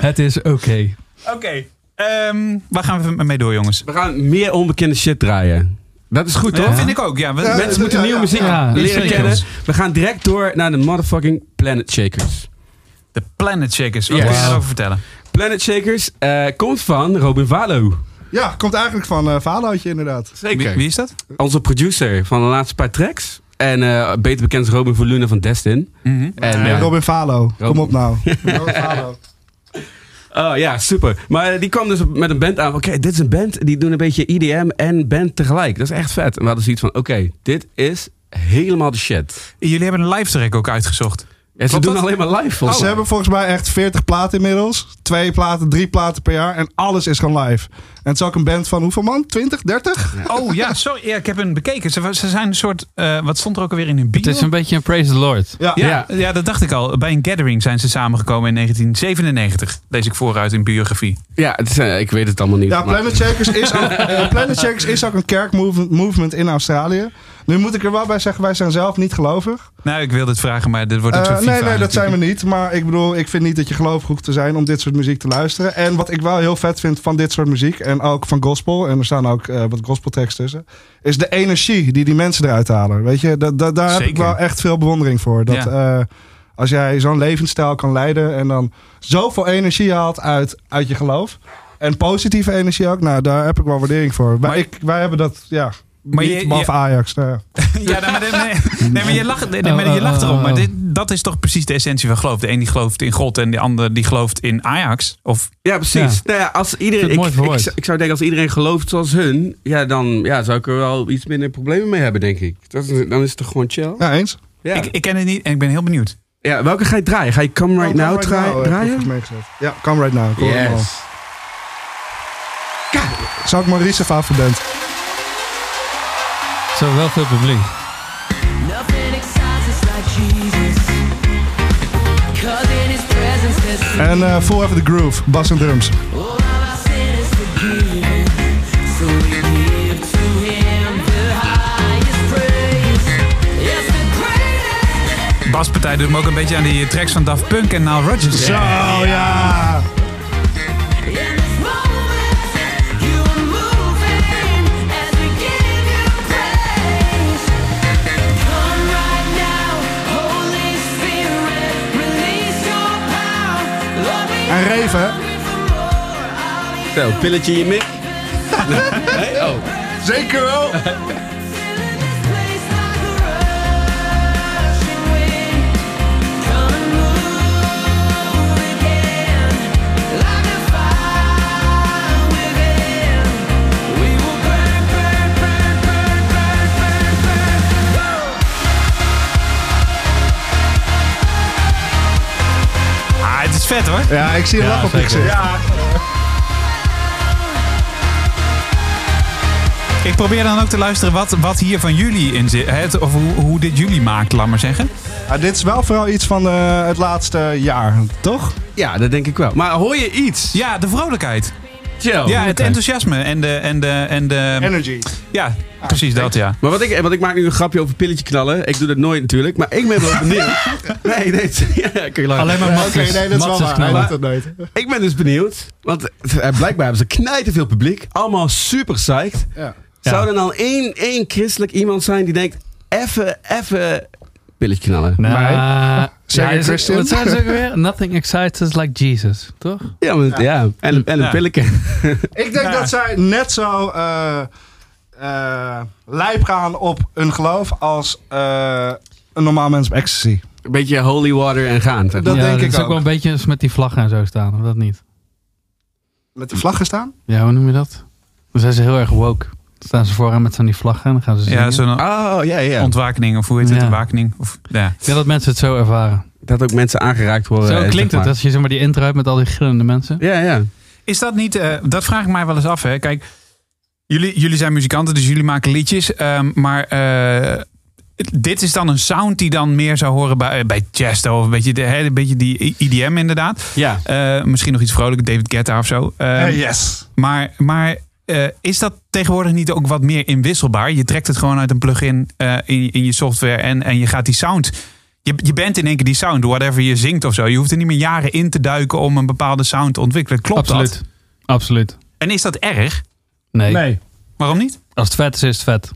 F: Het is oké.
B: Oké. ehm, waar gaan we mee door, jongens?
E: We gaan meer onbekende shit draaien. Dat is goed,
B: Dat
E: toch?
B: vind ik ook, ja. We-
D: Eh, Ja.
E: Mensen moeten nieuwe muziek
F: ja,
E: leren
F: zeker.
E: kennen. We gaan direct door naar de motherfucking Planet Shakers.
B: De Planet Shakers, wat
E: Yes.
B: kun je daarover vertellen?
E: Planet Shakers eh, komt van Robin Valo.
D: Ja, komt eigenlijk van eh Valoutje inderdaad.
B: Wie, wie is dat?
E: Onze producer van de laatste paar tracks. En eh, beter bekend als Robin Voluna van Destin.
B: Mhm.
E: En, eh,
D: Robin Valo, kom
E: Robin.
D: op nou. Robin Valo.
E: Oh ja, super. Maar eh, die kwam dus met een band aan. Oké, dit is een band. Die doen een beetje IDM en band tegelijk. Dat is echt vet. En we hadden zoiets van, oké, dit is helemaal de shit.
B: Jullie hebben een live track ook uitgezocht.
E: Ja, ze
D: Klopt
E: doen
D: dat?
E: alleen maar live
D: Ze
E: volgens mij.
D: hebben volgens mij echt 40 platen inmiddels. Twee platen, drie platen per jaar. En alles is gewoon live. En het is ook een band van hoeveel man? 20, 30?
B: Oh ja, sorry. Ja, ik heb hem bekeken. Ze, ze zijn een soort. eh, wat stond er ook alweer in hun bio?
F: Het is een beetje een praise the Lord.
D: Ja.
B: ja, ja. dat dacht ik al. Bij een gathering zijn ze samengekomen in 1997. Lees ik vooruit in biografie.
E: Ja, het is, eh, ik weet het allemaal niet.
D: Ja,
E: maar-
D: Planet Shakers is ook, eh, Planet Shakers is ook een kerkmovement movement in Australië. Nu moet ik er wel bij zeggen, wij zijn zelf niet gelovig.
B: Nou, ik wilde het vragen, maar dit wordt ook
D: Eh,
B: zo
D: nee,
B: Oh, FIFA
D: nee, dat
B: natuurlijk.
D: zijn we niet. Maar ik bedoel, ik vind niet dat je gelovig hoeft te zijn om dit soort muziek te luisteren. En wat ik wel heel vet vind van dit soort muziek en ook van gospel, en er staan ook eh, wat gospelteksten tussen, is de energie die die mensen eruit halen. Weet je, da- da- daar heb ik
B: Zeker.
D: wel echt veel bewondering voor. Dat, eh, als jij zo'n levensstijl kan leiden en dan zoveel energie haalt uit, uit je geloof. En positieve energie ook. Nou, daar heb ik wel waardering voor. Maar
B: Maar-
D: ik, wij hebben dat, ja.
B: Maar
D: Maar
B: je-
D: niet je, behalve
B: je-
D: Ajax. nou ja.
B: Ja, nee, maar, dit- nee, nee, maar je lacht, nee,
D: Oh,
B: maar je lacht erom. Maar dit, dat is toch precies de essentie van geloof. De een die gelooft in God en de ander die gelooft in Ajax. Of,
E: Ja, precies. Nou ja, als iedereen,
F: Ik
E: ik,
F: vind het mooi
E: ik,
F: verwoord.
E: ik zou denken, als iedereen gelooft zoals hun, ja, dan ja, zou ik er wel iets minder problemen mee hebben, denk ik. Dat is, dan is het toch gewoon chill?
D: Ja, eens.
E: Ja.
B: ik, ik ken het niet en ik ben heel benieuwd.
E: ja, welke ga je draaien? Ga je Come Right Now
D: Oh, Come
E: draai-
D: heb ik
E: draaien?
D: volgens mij gezegd. Ja, come right now. Kom right now.
E: Yes.
D: Zou ik Maurice een favoriet band?
F: Zo wel veel publiek.
C: Nothing excites us like Jesus. Cause in his presence there's
D: En eh Full Have The Groove, bas en drums.
C: all of our sinners forgiven. So we give to him the highest praise. Yes, the greatest.
B: Baspartij doet me ook een beetje aan die tracks van Daft Punk en Nile Rodgers.
D: Oh ja!
C: In this moment, you are moving as we give you praise. Come right now, Holy Spirit, release your power. Lord, we
D: En Reven, hè?
E: Zo, pilletje in je mik. Oh.
D: Zeker wel!
B: Ah, het is vet hoor.
D: Ja, ik zie een lach op je gezicht. Ja.
B: Ik probeer dan ook te luisteren wat, wat hier van jullie in zit. hè, het- Of hoe, hoe dit jullie maakt, laat maar zeggen.
D: Ah, dit is wel vooral iets van eh, het laatste jaar, toch?
E: Ja, dat denk ik wel. Maar hoor je iets?
B: Ja, de vrolijkheid.
E: Chill.
B: Ja, het enthousiasme en de... En de, en de
D: Energy.
B: ja, precies dat ja.
E: Maar wat ik, want ik maak nu een grapje over pilletje knallen. Ik doe dat nooit natuurlijk. Maar ik ben wel benieuwd. nee, nee. Ja, kun je lachen.
F: Alleen maar
D: Oké,
F: matjes.
D: nee, dat is wel waar.
F: matjes
D: Hij doet
F: knallen.
D: dat nooit.
E: Ik ben dus benieuwd. Want eh, blijkbaar hebben ze knijten veel publiek. Allemaal super psyched.
D: Ja.
E: Zou er dan één, één christelijk iemand zijn die denkt... Even, even... Pilletje knallen.
F: Nou,
D: Nee. Zeg
F: ja,
D: je
F: is-
D: Christian?
F: Wat zijn ze ook weer? Nothing excites us like Jesus, toch?
E: Ja, maar, ja. En, en
B: Ja.
E: een pilletje.
D: Ik denk dat zij net zo eh eh, lijp gaan op hun geloof als eh, een normaal mens op ecstasy.
E: Een beetje holy water en gaan. zeg maar.
D: Dat
F: ja,
D: denk
F: dat
D: ik
F: is ook
D: ook.
F: wel een beetje als met die vlaggen en zo staan, of dat niet?
D: Met de vlag gestaan?
F: Ja, hoe noem je dat? Dan zijn ze heel erg woke. Dan staan ze vooraan met zo'n die vlaggen en dan gaan ze zingen.
B: Ja, zo'n
E: Oh, ja, ja.
B: ontwakening of hoe heet het?
F: Ja.
B: Een wakening? Of, ja.
F: Ja, dat mensen het zo ervaren.
E: Dat ook mensen aangeraakt worden.
F: zo
E: eh,
F: klinkt
E: zeg
F: Oh het
E: maar.
F: als je zeg maar, die intro hebt met al die gillende mensen.
E: Ja, ja.
B: Is dat niet, eh, dat vraag ik mij wel eens af. Hè? Kijk, jullie, jullie zijn muzikanten, dus jullie maken liedjes. ehm, maar eh, dit is dan een sound die dan meer zou horen bij, eh, bij Chesto. Of een beetje, de, hè, een beetje die IDM inderdaad.
E: Ja.
B: Eh, misschien nog iets vrolijker, David Guetta of zo. Ehm,
D: Eh, yes.
B: Maar, maar eh, is dat tegenwoordig niet ook wat meer inwisselbaar? Je trekt het gewoon uit een plugin eh in, in je software en, en je gaat die sound. Je, je bent in één keer die sound, whatever je zingt of zo. Je hoeft er niet meer jaren in te duiken om een bepaalde sound te ontwikkelen. Klopt
F: Absoluut.
B: dat?
F: Absoluut.
B: En is dat erg?
F: Nee.
B: Waarom niet?
F: Als het vet is, is het vet.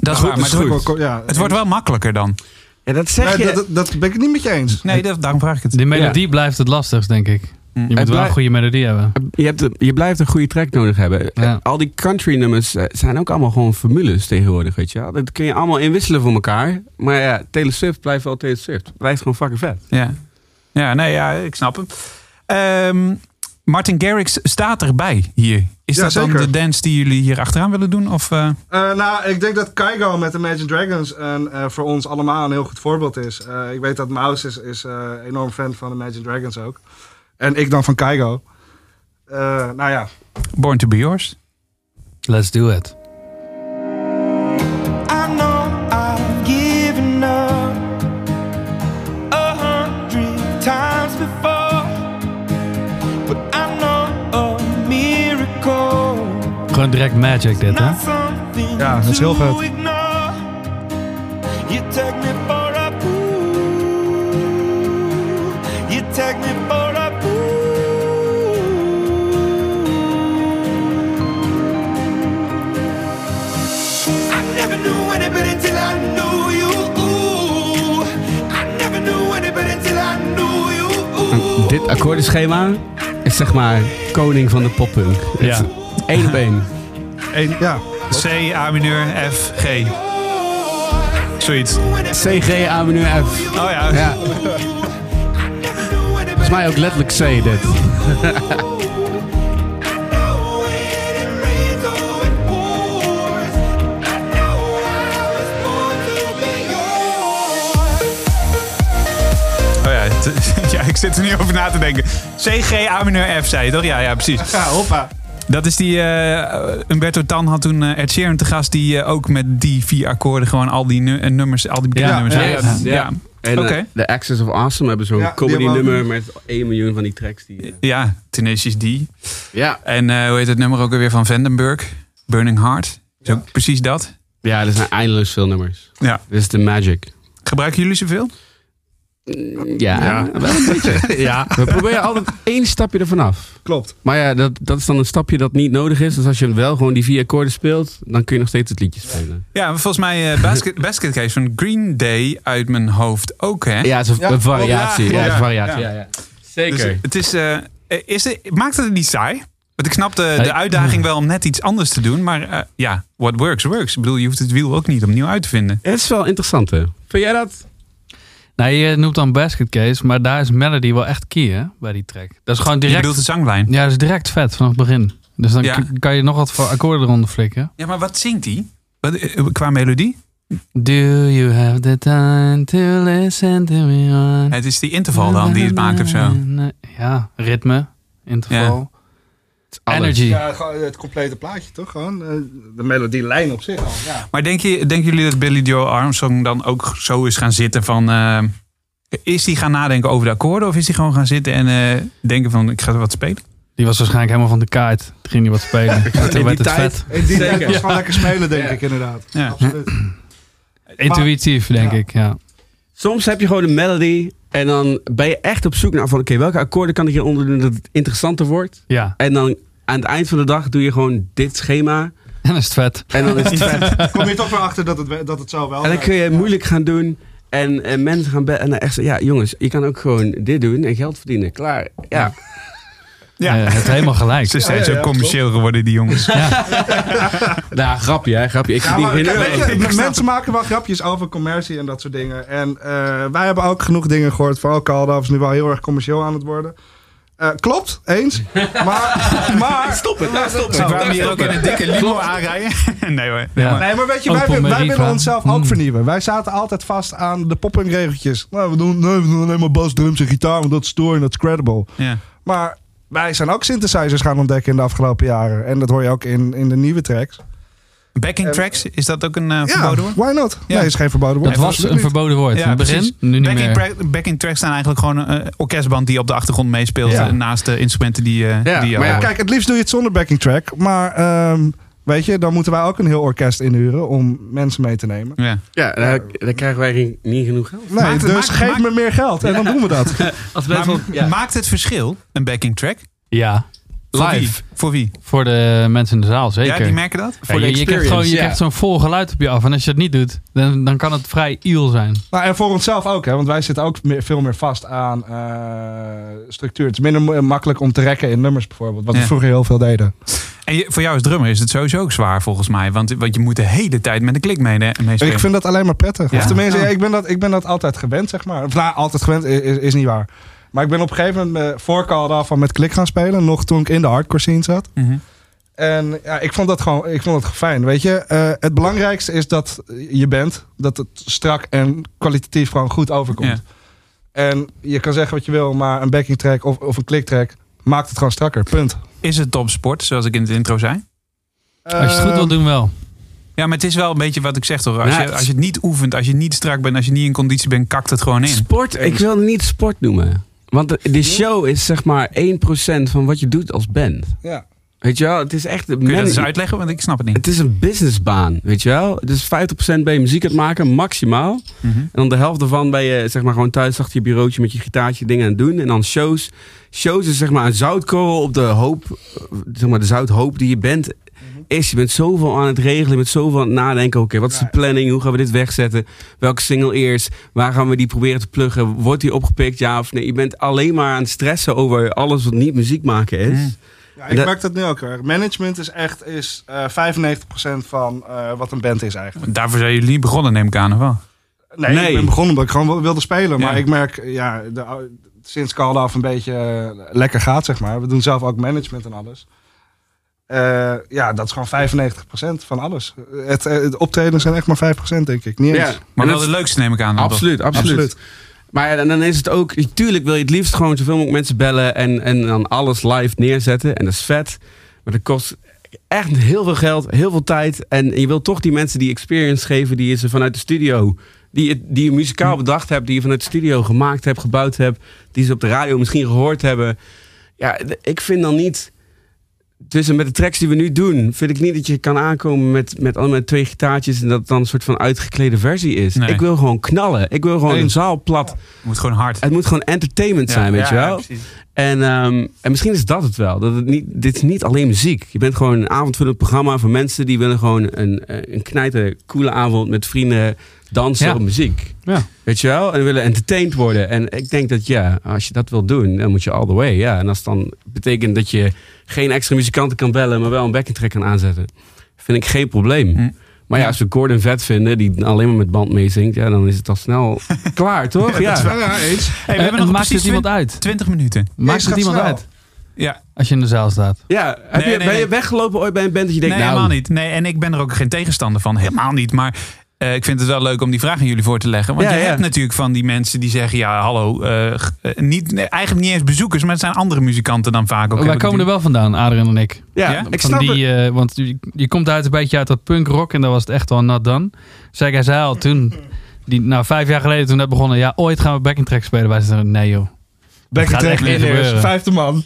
B: Dat is
E: goed,
B: waar, maar
E: dat is
B: het,
E: goed.
B: wordt-
D: Ko- Ja.
B: het wordt wel makkelijker dan.
E: Ja, Nou, dat zeg
D: Nee,
E: je.
D: dat, dat, dat ben ik het niet met je eens.
B: Nee, dat, daarom vraag ik het.
F: Die melodie blijft het lastigst, denk
B: Mm.
F: ik. Je moet wel
E: blij-
F: een goede melodie hebben.
E: Je, hebt, de- je blijft een goede track nodig hebben. Eh,
F: Ja.
E: Al die country nummers eh, zijn ook allemaal gewoon formules tegenwoordig, weet je wel. Dat kun je allemaal inwisselen voor elkaar. Maar ja, Taylor Swift blijft wel Taylor Swift. Blijft gewoon fucking vet.
B: Ja, ja nee, ja, ik snap hem. Ehm, Martin Garrix staat erbij hier Is
D: Ja,
B: dat dan
D: zeker.
B: de dance die jullie hier achteraan willen doen? Of, eh,
D: Eh, nou, ik denk dat Kaigo met Imagine Dragons een, eh, voor ons allemaal een heel goed voorbeeld is. Eh, ik weet dat Maus is, is eh, enorm fan van Imagine Dragons ook. En ik dan van Kaigo. Eh, nou ja,
B: Born to be yours?
F: Let's do it.
H: I know I've given up a hundred times before, but I know a miracle.
F: Gewoon direct magic dit, hè?
H: Not something
D: Ja, dat is heel
H: to
D: vet.
H: ignore. You take me for a fool. You take me for a fool. I never knew anybody till I knew you. I never knew anybody till I knew you.
E: Dit akkoordenschema is zeg maar koning van de poppunk.
F: Ja.
E: Eén op één.
D: één, ja.
B: C, A mineur, F, G. Zoiets. Oh
E: CG, A mineur F.
B: ja.
E: Ja. Volgens mij ook letterlijk C dit.
B: Oh ja, het- ja, ik zit er nu over na te denken. C, G, A mineur, F, zei je toch? Ja, ja, precies.
D: Ja, hoppa.
B: Dat is die. eh, Umberto Tan had toen eh Ed Sheeran te gast. die eh, ook met die vier akkoorden gewoon al die nu- eh, nummers. al die bekende
F: Ja,
B: nummers.
F: ja,
B: heeft
E: ja,
B: gedaan.
E: ja.
B: ja.
E: En eh,
B: Oké.
E: de Access of Awesome hebben zo'n
D: Ja, die
E: comedy
D: hebben we
E: nummer met 1 miljoen van die tracks. Die, eh,
B: Ja, Tenacious D.
E: ja.
B: En eh, hoe heet het nummer ook alweer van Vandenberg? Burning Heart. Is ook precies dat.
E: ja, er zijn eindeloos veel nummers.
B: Ja.
E: Dit is de magic.
B: Gebruiken jullie zoveel?
E: Ja, wel een beetje. ja. We proberen altijd één stapje ervan af.
D: Klopt.
E: Maar ja, dat, dat is dan een stapje dat niet nodig is. Dus als je wel gewoon die vier akkoorden speelt, dan kun je nog steeds het liedje spelen.
B: Ja, maar volgens mij eh basket, basket Case van Green Day uit mijn hoofd ook, hè?
E: Ja, het is een,
D: Ja,
E: een variatie.
B: klopt.
E: Ja, het is een
B: Ja,
E: variatie.
B: ja.
E: Ja, ja.
B: Dus
E: Zeker.
B: het is, eh, is het, maakt het het niet saai? Want ik snap de, de
F: Nee.
B: uitdaging wel om net iets anders te doen. Maar eh, ja, what works, works. Ik bedoel, je hoeft het wiel ook niet opnieuw uit te vinden.
E: het is wel interessant, hè? Vind jij dat?
F: Nou, je noemt dan Basket Case, maar daar is melody wel echt key, hè? Bij die track. Dat is gewoon
B: Je
F: direct...
B: bedoelt de zanglijn.
F: Ja, dat is direct vet vanaf het begin. Dus dan
B: Ja.
F: k- kan je nog wat voor akkoorden eronder flikken.
B: Ja, maar wat zingt hij? Wat, eh, qua melodie?
F: Do you have the time to listen to me on?
B: Het is die interval dan die het maakt of zo.
F: Ja, ritme, interval,
E: Het is alles.
F: energy.
D: Ja, gewoon het complete plaatje toch? Gewoon eh, de melodielijn op zich al. Ja.
B: Maar denk je, denken jullie dat Billy Joe Armstrong dan ook zo is gaan zitten van... eh, is hij gaan nadenken over de akkoorden of is hij gewoon gaan zitten en eh, denken van ik ga er wat spelen?
F: Die was waarschijnlijk helemaal van de kaart. Toen ging hij wat spelen. Toen
E: die
F: werd het
E: tijd-
F: vet.
D: In die tijd was
E: Ja.
D: gewoon lekker spelen, denk ik inderdaad.
B: Ja.
D: Absoluut.
F: Intuïtief, denk
D: Ja.
F: ik. Ja.
E: Soms heb je gewoon een melody en dan ben je echt op zoek naar van... oké, welke akkoorden kan ik hieronder doen dat het interessanter wordt?
F: ja,
E: En dan aan het eind van de dag doe je gewoon dit schema.
F: en dan is het vet.
E: En dan is het vet.
D: Kom je toch weer achter dat het, we- dat het zo wel
E: En dan
D: werkt.
E: kun je het moeilijk gaan doen. En, en mensen gaan bellen en dan echt zeggen... ja, jongens, je kan ook gewoon dit doen en geld verdienen. Klaar. Ja.
B: Ja.
F: Ja. Eh, het helemaal gelijk.
B: Ze zijn
D: ja, ja,
B: zo commercieel geworden, die jongens.
E: Nou, grapje hè, grapje. Ik
D: Ja,
E: verdien
D: maar,
E: geen
D: kijk, weet
E: euro.
D: je, mensen maken wel grapjes over commercie en dat soort dingen. En eh, wij hebben ook genoeg dingen gehoord van... Oh, Caldaf is nu wel heel erg commercieel aan het worden. Eh, klopt, eens. Maar, maar...
E: Stop het, nou stop
B: Ze
E: het.
B: kwamen hier ook in een dikke limo aanrijden. nee hoor. Nee,
F: Ja.
B: maar-
D: Nee, maar weet je, wij,
F: Open
D: wij
F: Meriva.
D: willen onszelf ook
B: Mm.
F: Hmm.
D: vernieuwen. Wij zaten altijd vast aan de poppingregeltjes. Nou, we doen, nee, we doen alleen maar bas, drums en gitaar, want dat is stoer en dat is credible.
B: Ja.
D: Maar wij zijn ook synthesizers gaan ontdekken in de afgelopen jaren. En dat hoor je ook in, in de nieuwe tracks.
E: Ehm,
B: Backing tracks, is dat ook een eh, verboden woord?
D: why not?
B: Ja.
D: Nee, is geen verboden woord.
F: Dat was
D: Absoluut
F: een
D: niet.
F: verboden woord. in het
B: precies.
F: begin, nu niet
B: backing,
F: meer.
B: tra- backing tracks zijn eigenlijk gewoon een eh, orkestband die op de achtergrond meespeelt.
D: Ja.
B: eh, Naast de instrumenten die, eh
E: Ja,
B: die je
E: maar ja,
B: hoort.
D: Kijk, het liefst doe je het zonder backing track. Maar ehm, weet je, dan moeten wij ook een heel orkest inhuren om mensen mee te nemen.
B: Ja.
E: Ja, daar, daar krijgen wij geen- niet genoeg geld.
D: Nee,
B: Maakt-
D: dus
B: maakt-
D: geef
B: maakt-
D: me meer geld en dan doen we dat.
E: Als
B: Maar maakt het verschil, een backing track?
F: Ja,
B: Voor
F: live.
B: wie? Voor wie?
F: Voor de mensen in de zaal, zeker.
B: Ja, die merken dat?
F: Ja, je, je krijgt gewoon, je krijgt zo'n vol geluid op je af. En als je dat niet doet, dan, dan kan het vrij iel zijn.
D: nou, en voor onszelf ook, hè, want wij zitten ook meer, veel meer vast aan eh, structuur. Het is minder mo- makkelijk om te rekken in nummers bijvoorbeeld, wat
B: Ja.
D: we vroeger heel veel deden.
B: En je- voor jou als drummer is het sowieso ook zwaar volgens mij. Want, want je moet de hele tijd met een klik mee, meespelen.
D: Ik vind dat alleen maar prettig.
B: Ja?
D: Of tenminste,
B: Ja.
D: ja, ik, ben dat, ik ben dat altijd gewend, zeg maar. Of, nou, altijd gewend i- is, is niet waar. Maar ik ben op een gegeven moment eh, voor Call It Off al met klik gaan spelen. Nog toen ik in de hardcore scene zat.
B: Mhm.
D: En ja, ik vond dat gewoon ik vond dat fijn. Weet je, Eh, het belangrijkste is dat je bent, dat het strak en kwalitatief gewoon goed overkomt.
B: Ja.
D: En je kan zeggen wat je wil, maar een backing track of, of een click track maakt het gewoon strakker. Punt.
B: Is het topsport, zoals ik in het intro zei?
F: Als je
D: Eh,
F: het goed wil doen, wel.
B: Ja, maar het is wel een beetje wat ik zeg toch. Als,
E: Ja,
B: je,
E: het-
B: als je het niet oefent, als je niet strak bent, als je niet in conditie bent, kakt het gewoon in.
E: Sport, ik wil het niet sport noemen. Want de, de show is zeg maar 1% van wat je doet als band.
D: Ja.
E: Weet je wel, het is echt...
B: Kun je dat eens uitleggen? Want ik snap het niet.
E: Het is een businessbaan, weet je wel. Dus 50% ben je muziek aan het maken, maximaal. En dan de helft ervan ben je zeg maar gewoon thuis achter je bureautje met je gitaartje dingen aan het doen. En dan shows. Shows is zeg maar een zoutkorrel op de hoop, eh, zeg maar de zouthoop die je bent. Is, je bent zoveel aan het regelen, je bent zoveel aan het nadenken. Oké, wat is de planning? Hoe gaan we dit wegzetten? Welke single eerst? Waar gaan we die proberen te pluggen? Wordt die opgepikt, ja of nee? Je bent alleen maar aan het stressen over alles wat niet muziek maken is.
B: Mm.
D: Ja, ik
E: Dat-
D: merk dat nu ook weer. Management is echt is, eh, 95% van eh, wat een band is eigenlijk.
B: Daarvoor zijn jullie niet begonnen, neem ik aan, of wel?
D: Nee,
E: Nee.
D: ik ben begonnen omdat ik gewoon wil- wilde spelen. Maar
B: Ja.
D: ik merk, ja, de, sinds Call Off een beetje eh, lekker gaat, zeg maar. We doen zelf ook management en alles. Eh, ja, dat is gewoon 95% van alles. Het, eh, de optredens zijn echt maar 5%, denk ik. Niet eens.
B: Maar wel
E: En dat-
B: het leukste, neem ik aan. dan toch?
E: Absoluut, absoluut.
D: Absoluut.
E: Maar ja, dan- dan is het ook, tuurlijk wil je het liefst gewoon zoveel mogelijk mensen bellen en, en dan alles live neerzetten. En dat is vet. Maar dat kost echt heel veel geld, heel veel tijd. En je wil toch die mensen die experience geven die je ze vanuit de studio, die, je- die je
B: Hm.
E: muzikaal bedacht hebt, die je vanuit de studio gemaakt hebt, gebouwd hebt, die ze op de radio misschien gehoord hebben. Ja, d- ik vind dan niet. Tussen met de tracks die we nu doen, vind ik niet dat je kan aankomen met, met, al- met twee gitaartjes en dat het dan een soort van uitgeklede versie is.
B: Nee.
E: Ik wil gewoon knallen. Ik wil gewoon een
D: Eens.
E: zaal plat.
B: Moet gewoon hard.
E: Het moet gewoon entertainment
B: Ja,
E: zijn, weet je
D: Ja,
E: wel.
D: precies.
E: En, ehm, en misschien is dat het wel. Dat het niet, dit is niet alleen muziek. Je bent gewoon een avondvullend programma voor mensen die willen gewoon een, eh, een knijter coole avond met vrienden dansen
F: Ja.
E: op muziek.
F: Ja.
E: Weet je wel? En willen entertained worden. En ik denk dat ja, als je dat wil doen, dan moet je all the way. Ja. En als het dan betekent dat je geen extra muzikanten kan bellen, maar wel een backing track kan aanzetten, vind ik geen probleem.
B: Hm.
E: Maar ja, als we Gordon vet vinden, die alleen maar met band meezingt, ja, dan is het al snel klaar, toch? Ja.
D: Ja, eens.
B: Hey, we
F: En-
B: hebben
F: Eh, en
B: nog
F: maakt
B: precies
F: het iemand
B: 20,
F: uit?
B: minuten.
F: Maakt
D: gaat
F: het iemand
D: snel.
F: uit?
B: Ja,
F: Als je in de zaal staat.
E: Ja,
B: Nee,
E: heb je,
B: nee,
E: ben
B: nee.
E: je weggelopen ooit bij een band dat je denkt,
B: nee,
E: nou,
B: helemaal niet. Nee, en ik ben er ook geen tegenstander van. Helemaal niet. Maar eh, ik vind het wel leuk om die vraag aan jullie voor te leggen. Want
E: Ja,
B: je
E: ja.
B: hebt natuurlijk van die mensen die zeggen: ja, hallo. eh, g- eh, niet, nee, eigenlijk niet eens bezoekers, maar het zijn andere muzikanten dan
E: Oh,
B: vaak ook.
F: Wij
B: heb ik
F: komen er
B: die-
F: wel vandaan, Adrian en ik.
E: Ja,
B: Ja?
E: ik
F: van
E: snap
F: die,
E: het.
F: eh, want je, je komt uit een beetje uit dat punkrock en dat was het echt wel nat dan. Zeg hij zei al toen, die, nou vijf jaar geleden toen dat begonnen, ja ooit gaan we backing track spelen. Wij zeiden nee joh.
D: Back
F: gaat
D: track
F: echt niet
D: in eerst.
F: gebeuren.
D: Vijfde man.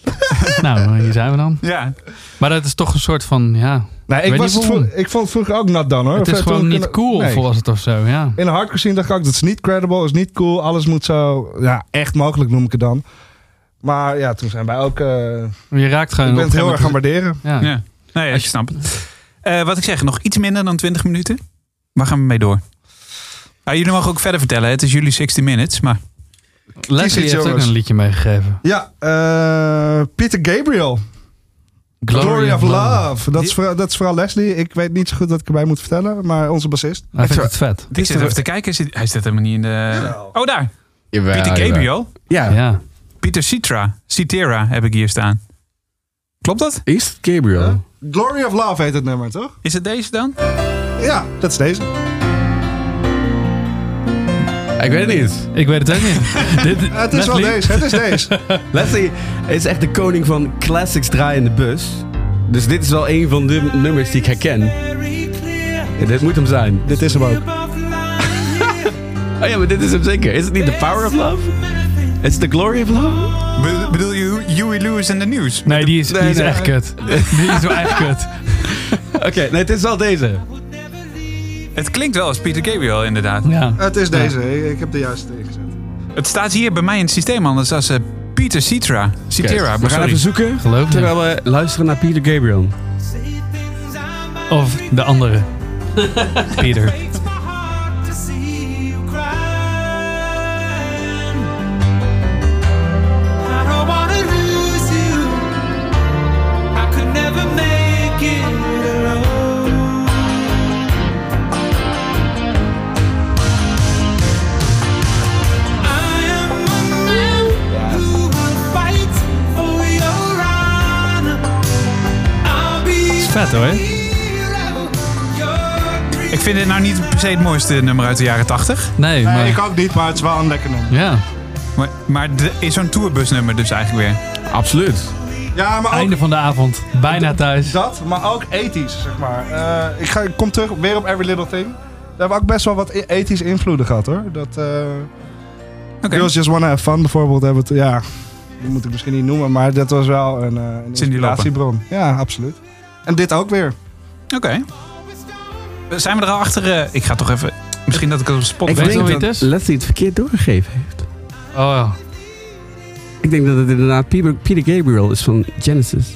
F: nou, hier zijn we dan.
B: Ja,
F: Maar dat is toch een soort van, ja,
D: Nee, ik,
F: Weet
D: was
F: niet
D: het vro-
F: waarom.
D: ik vond het vroeger ook nat dan hoor.
F: het is
D: Toen
F: gewoon
D: ik
F: niet
D: in-
F: cool
D: nee.
F: volgens het of zo. Ja.
D: In de hardcore scene dacht ik ook, dat is niet credible, is niet cool. Alles moet zo ja, echt mogelijk noem ik het dan. Maar ja, toen zijn wij ook... eh
F: Je raakt gewoon...
D: ik ben het heel
F: op een
D: erg
F: gegeven
D: gaan waarderen.
F: moment- ja.
B: ja. Nee, ja, ik snap het. Eh, wat ik zeg, nog iets minder dan 20 minuten. Waar gaan we mee door? Ah, jullie mogen ook verder vertellen. Het is jullie 60 minutes. Maar
F: Leslie
D: iets,
F: heeft ook
D: jongens.
F: een liedje meegegeven.
D: Ja, eh, Peter Gabriel. Glory, of Love. Dat, is vooral, dat is vooral Leslie. Ik weet niet zo goed wat ik erbij moet vertellen, maar onze bassist.
F: Hij vindt het vet.
B: ik zit even te kijken. Zit- Hij zit helemaal niet in de. Oh, daar.
E: Jawel,
B: Pieter
E: jawel.
B: Gabriel.
E: Ja,
F: Ja.
B: Pieter Citra. Citera heb ik hier staan. Klopt dat?
E: is het Gabriel?
D: Huh? Glory of Love heet het nummer, toch?
B: Is het deze dan?
D: Ja, dat is deze.
E: Ik weet het niet.
F: Ik weet het ook niet. Dit,
D: Het is wel
F: Leslie?
D: deze, het is deze.
E: Leslie is echt de koning van classics draaien in de bus. Dus dit is wel een van de nummers die ik herken. Ja, dit moet hem zijn.
D: Dit is hem ook.
E: Oh ja, maar dit is hem zeker. Is het niet The Power of Love? Is het The Glory of Love?
B: Be- bedoel je Huey Lewis in the News?
F: Nee, die is, die
E: Nee,
F: is
E: nee.
F: echt kut. Die is wel echt kut.
E: Oké, nee, het is wel deze.
B: Het klinkt wel als Peter Gabriel, inderdaad.
F: Ja.
D: Het is deze. Ik, ik heb de juiste ingezet.
B: Het staat hier bij mij in het systeem anders als eh, Peter Citra. Citera,
E: Oké, we
B: maar
E: gaan
B: sorry.
E: even zoeken.
F: Geloof me.
E: Terwijl we luisteren naar Peter Gabriel.
F: Of de andere. Peter.
H: Fight for your honor. I'll be
F: vet hoor.
B: Ik vind dit nou niet per se het mooiste nummer uit de jaren 80.
F: Nee,
D: Nee, ik
F: maar...
D: ook niet, maar het is wel een lekker nummer.
F: Ja.
B: Maar, maar de- is zo'n tourbusnummer dus eigenlijk weer.
E: Absoluut.
D: Ja, maar ook
F: Einde van de avond. Bijna thuis.
D: dat, maar ook ethisch, zeg maar. Eh, ik, ga, ik kom terug weer op Every Little Thing. Daar hebben we ook best wel wat i- ethische invloeden gehad, hoor. Dat, eh,
B: Oké.
D: Girls Just Wanna Have Fun bijvoorbeeld hebben het, ja... Dat moet ik misschien niet noemen, maar dat was wel een, eh, een
B: Cindy Lauper.
D: inspiratiebron. Ja, absoluut. En dit ook weer.
B: Oké. Zijn we er al achter? eh, ik ga toch even. Misschien dat ik het op de spot
E: Ik
B: weet.
F: Weet je
E: denk
F: nog wie
E: dat
F: het is?
E: Let's die het verkeerd doorgegeven heeft.
F: Oh ja.
E: Ik denk dat het inderdaad Peter, Peter Gabriel is van Genesis.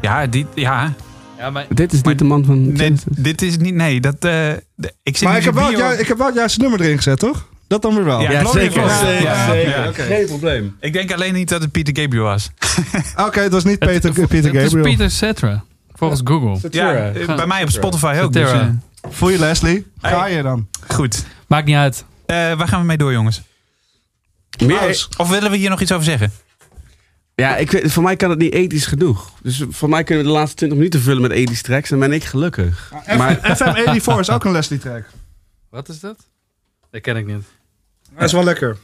B: Ja, die, ja.
F: Ja, maar...
E: Dit is
B: Maar-
E: niet de man van
B: Nee,
E: Genesis.
B: dit is niet. Nee, dat. eh, de- ik zit
D: Maar ik
B: in
D: heb,
B: de
D: wel,
B: bio-
D: ju- ik heb wel het juiste nummer erin gezet, toch? Dat dan weer wel.
B: Ja, Gloria was- ja, ja.
E: Geen probleem.
B: Ik denk alleen niet dat het Peter Gabriel was.
D: Oké, het was niet Peter, Peter
F: Het is
D: Gabriel.
F: Peter Cetera. Volgens Google.
B: Ja, eh, bij mij op Spotify ook. Dus,
F: Cetera.
B: eh,
D: Voel je Leslie?
B: Hey.
D: Ga je dan?
B: goed.
F: Maakt niet uit.
B: Eh, waar gaan we mee door, jongens?
E: Meer,
B: Of willen we hier nog iets over zeggen?
E: ja, ik weet, voor mij kan het niet ethisch genoeg. Dus voor mij kunnen we de laatste 20 minuten vullen met ethisch tracks. Dan ben ik gelukkig. Maar
D: FM84 is ook een Leslie track.
F: Wat is dat? Dat ken ik niet.
D: Dat is wel lekker.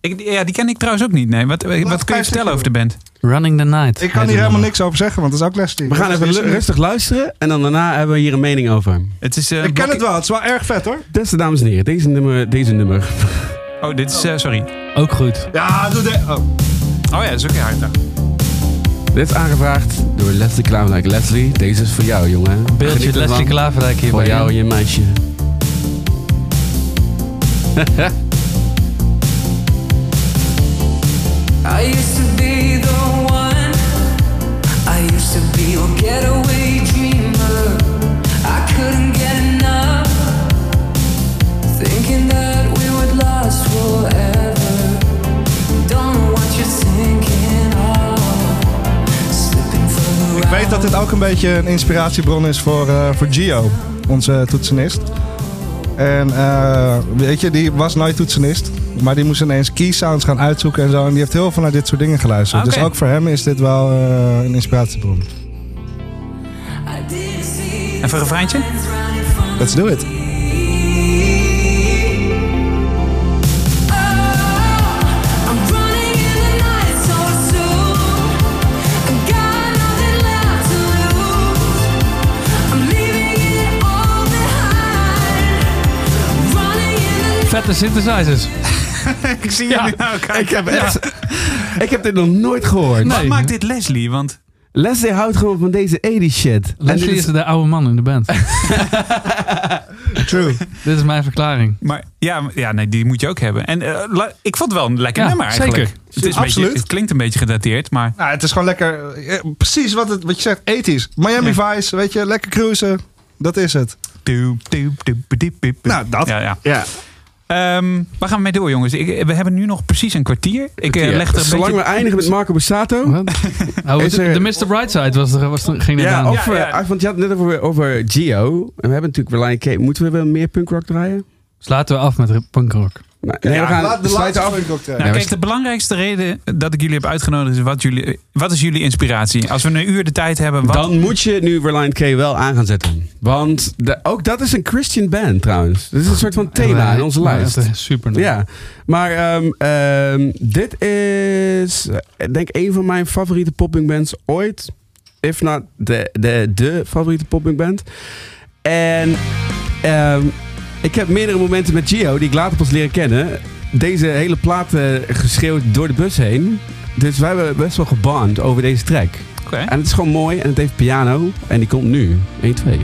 B: Ik, ja, die ken ik trouwens ook niet. Nee. Wat, wat kun je
D: vijf
B: vertellen over de band?
F: Running the Night.
D: Ik kan hier helemaal niks over zeggen, want dat is ook Leslie.
E: we gaan
D: Dat
E: even
D: is-
E: lu- rustig luisteren. En dan daarna hebben we hier een mening over.
B: Het is, eh,
D: Ik ken
B: Rocky-
D: het wel, het is wel erg vet hoor.
E: Dus dames en heren, deze nummer. Deze nummer.
B: Oh, dit is. eh, sorry. Oh
F: Ook goed.
D: Ja, doe de... Oh.
B: ja, dat is ook heel hard.
E: Dit is aangevraagd door Leslie Klaverlijk. Leslie, deze is voor jou, jongen. Geniet
F: Beeldje
E: ervan.
F: Leslie Klaverrijk hier
E: Voor
F: bij
E: jou en
F: je.
E: je meisje.
I: I used to be the one. I used to be your getaway dreamer. I couldn't get enough. Thinking that we would last forever. Don't know what you're thinking of. Slipping from the
D: Ik weet dat dit ook een beetje een inspiratiebron is voor, eh, voor Gio, onze toetsenist. En eh, weet je, die was nooit toetsenist, maar die moest ineens key sounds gaan uitzoeken en zo. En die heeft heel veel naar dit soort dingen geluisterd.
B: Ah, oké.
D: Dus ook voor hem is dit wel eh, een inspiratiebron.
I: I didn't see
B: Even een refreintje?
I: running from
D: Let's do it.
I: I'm running in the night so soon. I got nothing left to lose. I'm leaving it all behind. Running in the
F: Vette synthesizers.
B: ik zie jullie nou kijken.
E: Ik heb, echt- ik heb dit nog nooit gehoord.
B: Wat
F: Nee.
B: maakt dit Leslie? Want
E: Leslie houdt gewoon van deze 80 shit. En dit
F: Leslie
E: is-
F: is de oude man in de band.
D: True.
F: Dit is mijn verklaring.
B: Maar ja, maar- ja nee, die moet je ook hebben. En eh, la- ik vond het wel een lekker
F: Ja,
B: nummer eigenlijk.
F: zeker.
B: Het, is een
D: Absoluut.
B: beetje- het klinkt een beetje gedateerd, maar
D: Nou, het is gewoon lekker. eh, Precies wat, het, wat je zegt, ethisch. Miami Vice, weet je, lekker cruisen. Dat is het.
B: Doep, doep, doep, doep, doep.
D: Nou, dat.
B: Ja, ja.
E: Ja,
B: Ehm, waar gaan we mee door, jongens? Ik, we hebben nu nog precies een kwartier. Ik eh, leg er een
E: Zolang we
B: beetje...
E: eindigen met Marco Bussato.
F: Wat? Nou,
E: Is
F: de,
E: er-
F: de Mr. Brightside was er, was er, ging er
E: Ja,
F: aan.
E: of,
B: Ja, ja.
E: eh, want je had het net over, over Gio. En we hebben natuurlijk Reliant K. Moeten we wel meer punkrock draaien?
F: Dus laten we af met punkrock.
E: Nou, nee, we gaan
D: Laat de
E: sluiten
D: laatste
E: af.
D: Funk Rock track.
B: Nou,
E: Ja,
B: kijk, de belangrijkste reden dat ik jullie heb uitgenodigd is wat, jullie, wat is jullie inspiratie? Als we een uur de tijd hebben, wat...
E: Dan moet je nu Reliant K wel aan gaan zetten. Want de- ook dat is een Christian band trouwens. Dit is een soort van thema in onze
F: Ja,
E: lijst.
F: echt, eh, Super. nice.
E: Ja, maar ehm, ehm, dit is eh, denk ik een van mijn favoriete popping bands ooit. If not de, de, de favoriete popping band. En ehm, ik heb meerdere momenten met Gio die ik later pas leren kennen. Deze hele plaat eh, geschreeuwd door de bus heen. Dus wij hebben best wel gebond over deze track.
B: Oké.
E: En het is gewoon mooi en het heeft piano. En die komt nu. 1, 2.
J: I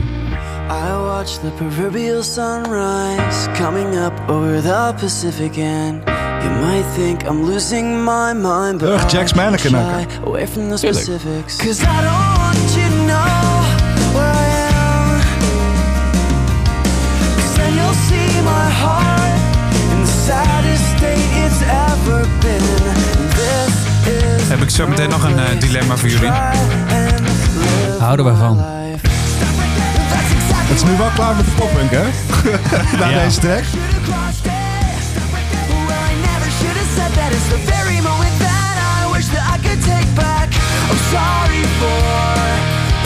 J: watch the proverbial sunrise coming up over the Pacific, and you might think I'm losing my mind, but
D: Ugh, Jack's
J: I'm
D: mannequin
J: shy away from the
E: Tuurlijk.
J: specifics. Cause I don't want you to know where I am. 'Cause then you'll see my heart in the saddest state it's ever been. This is
B: Heb ik zo meteen nog een, eh, dilemma voor jullie.
F: Houden wij van.
D: Het is nu wel klaar met de poppunk, hè? Na
B: Ja.
D: deze track.
J: Sorry for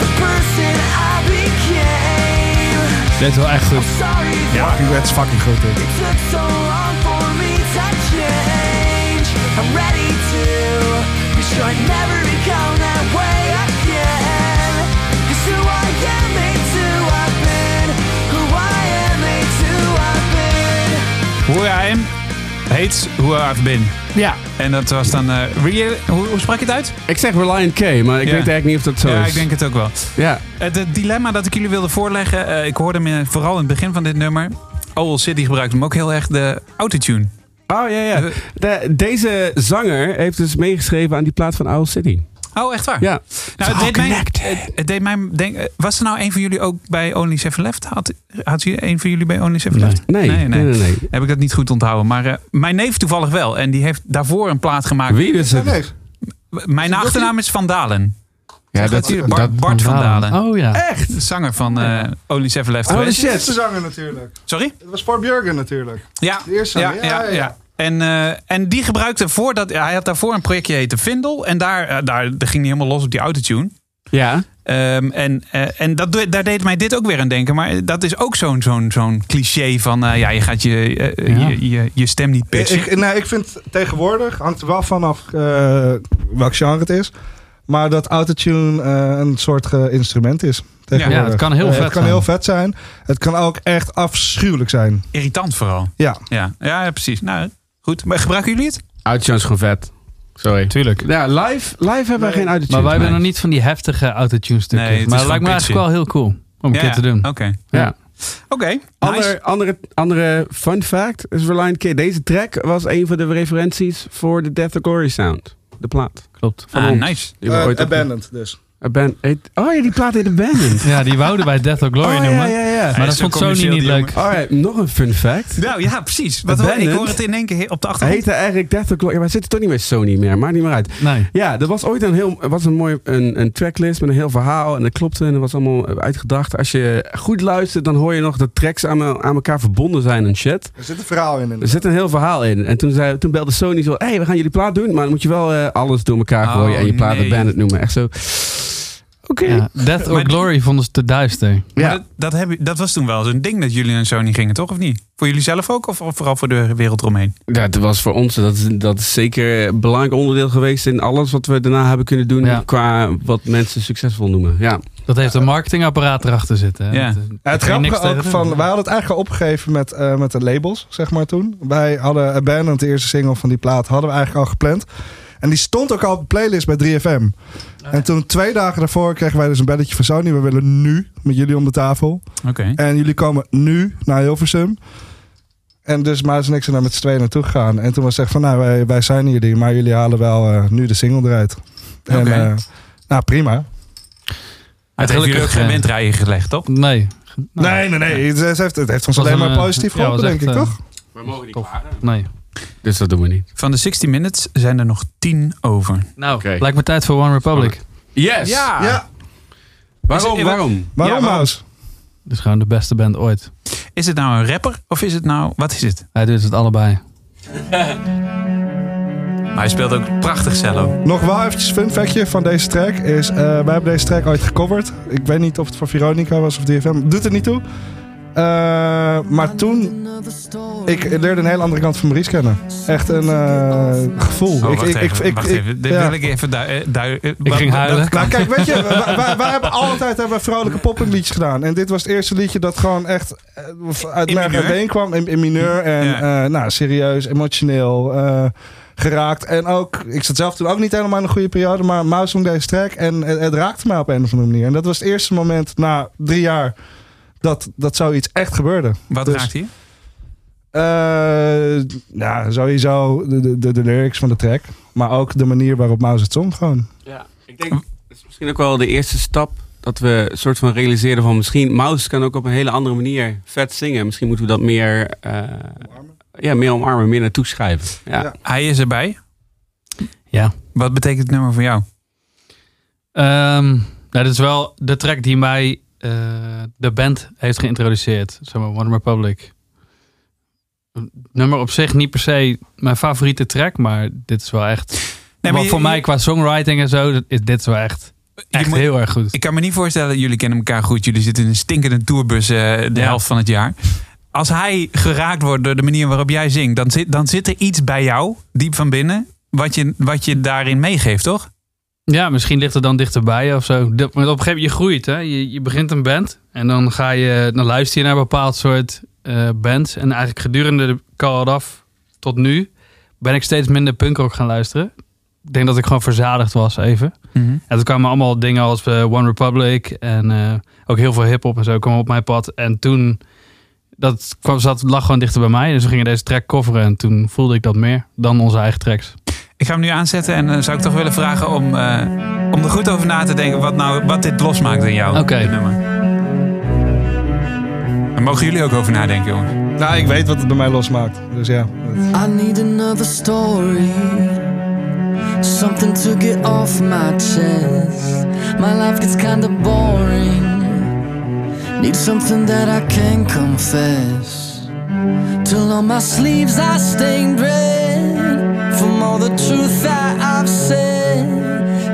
J: the
H: person I became.
F: Dit is wel echt goed.
H: Sorry for
D: Fucking Red is fucking goed, dit.
H: it took so long for me to change. I'm ready to be sure I never become that way again. 'Cause who I am ain't who I've been. Who I am ain't who I've been.
B: Who I Am heet Who I've Been.
F: Ja.
B: En dat was dan... eh, Real- hoe, hoe sprak je het uit?
E: Ik zeg Reliant K, maar ik weet eigenlijk niet of dat zo
B: ja,
E: is.
B: ik denk het ook wel.
E: Ja.
B: Het, eh, dilemma dat ik jullie wilde voorleggen, eh, ik hoorde hem in- vooral in het begin van dit nummer. Owl City gebruikt hem ook heel erg, de autotune.
E: Oh, ja, ja. De- deze zanger heeft dus meegeschreven aan die plaat van Owl City.
B: Oh, echt waar?
E: Ja.
B: Nou, het
E: It's
B: deed
E: all
B: mij,
E: connected.
B: het- het deed mij denken, was er nou een van jullie ook bij Only Seven Left? Had, had je een van jullie bij Only Seven Left?
E: Nee, nee, nee. nee,
B: Heb ik dat niet goed onthouden. Maar eh, mijn neef toevallig wel. En die heeft daarvoor een plaat gemaakt.
E: Wie is het?
D: Nee,
B: Mijn achternaam is Van Dalen.
E: Ja,
B: dat-
E: dat,
B: Bart-
E: dat,
B: Bart van Dalen.
F: Oh ja.
B: Echt? De zanger van eh Only Seven Left.
E: Oh,
B: geweest.
E: shit.
D: de zanger natuurlijk.
B: Sorry?
D: Het was Paul Björgen natuurlijk.
B: Ja,
D: De eerste,
B: ja, ja,
D: ja,
B: ja.
D: ja.
B: En, eh, en die gebruikte voordat hij had daarvoor een projectje heette Vindel. En daar, eh, daar, daar ging hij helemaal los op die autotune.
E: ja.
B: Ehm, en eh, en dat, doe- daar deed mij dit ook weer aan denken. Maar dat is ook zo'n zo'n zo'n cliché van... eh, ja, je gaat je, eh,
F: Ja.
B: je, je, je stem niet
D: Ik,
B: pitchen.
D: ik- nee, ik vind tegenwoordig, hangt er wel vanaf eh, welk genre het is. Maar dat autotune eh, een soort ge- instrument is. tegenwoordig.
F: Ja, het kan heel
D: Eh,
F: vet
D: Het kan
F: zijn.
D: heel vet zijn. Het kan ook echt afschuwelijk zijn.
B: Irritant vooral.
D: Ja.
B: Ja. ja, ja, precies. Nou, goed. Maar gebruiken jullie het?
E: Autotune is gewoon vet. Sorry.
F: Tuurlijk.
E: Ja, live, live hebben wij geen autotune.
F: Maar wij hebben
E: gemaakt.
F: nog niet van die heftige autotune stukjes.
B: Nee, het is
F: maar
B: gewoon
F: dat lijkt me eigenlijk wel heel cool om een
B: ja, Oh.
F: keer te doen.
B: Oké.
E: Ja.
B: Oké, nice.
E: Ander, andere, andere fun fact is Reliant K. Deze track was een van de referenties voor de Death of Glory sound. De plaat.
F: Klopt.
E: Van
B: Ah,
E: ons.
B: nice.
E: Die we ooit
D: Eh,
E: op-
D: abandoned dus.
E: Aban- heet- oh ja, die plaat heet Abandoned.
F: Ja, die wouden wij Death or Glory
E: oh ja,
F: noemen.
E: ja,
F: Maar
E: ja.
F: dat
B: is zo
F: vond Sony
B: commercieel,
F: niet
B: die
F: leuk.
E: Alright, nog een fun fact.
B: Nou ja, precies. Wat, wel- ik
E: Abandoned.
B: hoor het in één keer op de
E: Hij
B: achtergrond.
E: heette eigenlijk Death of Glory. Ja, maar zit toch niet bij Sony meer? Maakt niet meer uit.
F: Nee.
E: Ja, er was ooit een heel was een mooi een, een tracklist met een heel verhaal. En dat klopte en dat was allemaal uitgedacht. Als je goed luistert, dan hoor je nog dat tracks aan, me- aan elkaar verbonden zijn en shit.
D: Er zit een verhaal in.
E: Er
D: inderdaad.
E: zit een heel verhaal in. En toen, zei, toen belde Sony zo: hey, we gaan jullie plaat doen. Maar dan moet je wel eh, alles door elkaar
B: Oh,
E: gooien. En je plaat
B: nee.
E: de band noemen. Echt zo. Oké.
F: Ja, Death
B: Maar
F: or
B: die-
F: Glory vonden ze te duister.
B: Maar
E: Ja.
B: Dat, dat, heb, je- dat was toen wel zo'n ding dat jullie naar Sony gingen, toch? Of niet? Voor jullie zelf ook? Of, of vooral voor de wereld eromheen?
E: Dat was voor ons, dat is, dat is zeker een belangrijk onderdeel geweest in alles wat we daarna hebben kunnen doen
F: Ja.
E: qua wat mensen succesvol noemen. Ja.
F: Dat heeft een marketingapparaat erachter zitten. hè.
B: Ja.
F: Dat, eh,
D: Ja, het
F: daar kan je
D: grappige ook
F: tegen
D: van,
F: doen.
D: wij hadden het eigenlijk al opgegeven met, eh, met de labels, zeg maar toen. Wij hadden Abandoned, de eerste single van die plaat, hadden we eigenlijk al gepland. En die stond ook al op de playlist bij 3FM. En toen twee dagen daarvoor kregen wij dus een belletje van Sony. We willen nu met jullie om de tafel.
B: Oké.
D: En jullie komen nu naar Hilversum. En dus Maas en ik zijn daar met z'n tweeën naartoe gegaan. En toen was het echt van, nou, wij, wij zijn jullie, maar jullie halen wel eh, nu de single eruit. En,
B: Oké.
D: eh, nou, prima.
B: Het heeft jullie ook
F: Gelukkig,
B: geen
F: eh,
B: windrijen gelegd, toch?
F: Nee. Nou,
D: nee, nee, nee. Het, heeft, het heeft ons
F: was
D: alleen
F: een,
D: maar
F: eh,
D: positief
F: ja, was
D: geholpen, denk
F: echt,
D: ik,
F: eh,
D: toch?
E: We mogen niet
F: Tof. Nee.
E: Dus dat doen we niet.
B: Van de 60 Minutes zijn er nog 10 over.
F: Nou,
E: Oké.
F: lijkt me tijd voor One Republic.
E: Yes!
F: eh,
D: Ja,
B: Is
E: Waarom?
B: het-
E: waarom?
D: waarom,
B: Ja, waarom?
D: Maus?
F: Dit is Dus gewoon de beste band ooit.
B: Is het nou een rapper of is het nou... Wat is het?
F: Hij doet het allebei.
B: Maar hij speelt ook prachtig cello.
D: Nog wel eventjes een fun factje van deze track is... eh, wij hebben deze track ooit gecoverd. Ik weet niet of het voor Veronica was of DFM. Doet er niet toe. Eh, maar toen... Ik leerde een hele andere kant van Maurice kennen. Echt een eh, gevoel.
B: Oh,
D: ik,
B: wacht
D: ik, ik-
B: even.
D: ik-
B: wacht
D: ik-
B: even. Dit
D: ja.
B: wil ik even eh, duiden.
F: Ik ging huilen.
D: Nou, kijk, weet je, wij, wij- wij hebben altijd hebben we vrolijke poppenliedjes gedaan. En dit was het eerste liedje dat gewoon echt eh, uit
B: In
D: merg en
B: mineur?
D: been kwam. In, in mineur en
B: Ja.
D: eh, nou, serieus, emotioneel eh, geraakt. En ook, ik zat zelf toen ook niet helemaal in een goede periode. Maar Maus zong deze track en het, het raakte mij op een of andere manier. En dat was het eerste moment na drie jaar dat, dat zoiets echt gebeurde.
B: Wat
D: Dus-
B: raakt hier?
D: Eh, nou, sowieso de, de, de, de lyrics van de track. Maar ook de manier waarop Maus het zong gewoon.
E: Ja, ik denk, dat is misschien ook wel de eerste stap dat we een soort van realiseerden van misschien Mouse kan ook op een hele andere manier vet zingen. Misschien moeten we dat meer, eh, ja, meer omarmen, meer naartoe schrijven. Ja.
D: Ja.
B: Hij is erbij.
F: Ja.
B: Wat betekent het nummer voor jou?
F: Ehm, nou, dit is wel de track die mij eh, de band heeft geïntroduceerd. Zeg maar, One Republic. Nummer op zich niet per se mijn favoriete track, maar dit is wel echt...
B: maar
F: maar
B: je-
F: voor
B: je-
F: mij qua songwriting en zo, dat is, dit is wel echt... Echt
B: moet-
F: heel erg goed.
B: Ik kan me niet voorstellen, jullie kennen elkaar goed. Jullie zitten in een stinkende tourbus eh, de
F: Ja.
B: helft van het jaar. Als hij geraakt wordt door de manier waarop jij zingt, dan zit, dan zit er iets bij jou, diep van binnen, wat je, wat je daarin meegeeft, toch?
F: Ja, misschien ligt het dan dichterbij of zo. Dat- Maar op een gegeven moment, je groeit hè. Je, je begint een band en dan ga je, dan luister je naar een bepaald soort eh, bands. En eigenlijk gedurende de Call It Off tot nu ben ik steeds minder punkrock gaan luisteren. Ik denk dat ik gewoon verzadigd was even.
B: Mhm.
F: En toen kwamen allemaal dingen als eh, One Republic en eh, ook heel veel hip-hop en zo kwam op mijn pad. En toen, dat kwam, zat, lag gewoon dichter bij mij. Dus we gingen deze track coveren en toen voelde ik dat meer dan onze eigen tracks.
B: Ik ga hem nu aanzetten en eh, zou ik toch willen vragen om, eh, om er goed over na te denken wat, nou, wat dit losmaakt in jou.
F: Oké.
B: dit nummer. Daar mogen jullie ook over nadenken, jongens.
D: Nou, ik weet wat het bij mij losmaakt. Dus ja. dat-
H: I need another story. Something to get off my chest. My life gets kinda boring. Need something that I can confess. Till on my sleeves I stained red. From all the truth that I've said.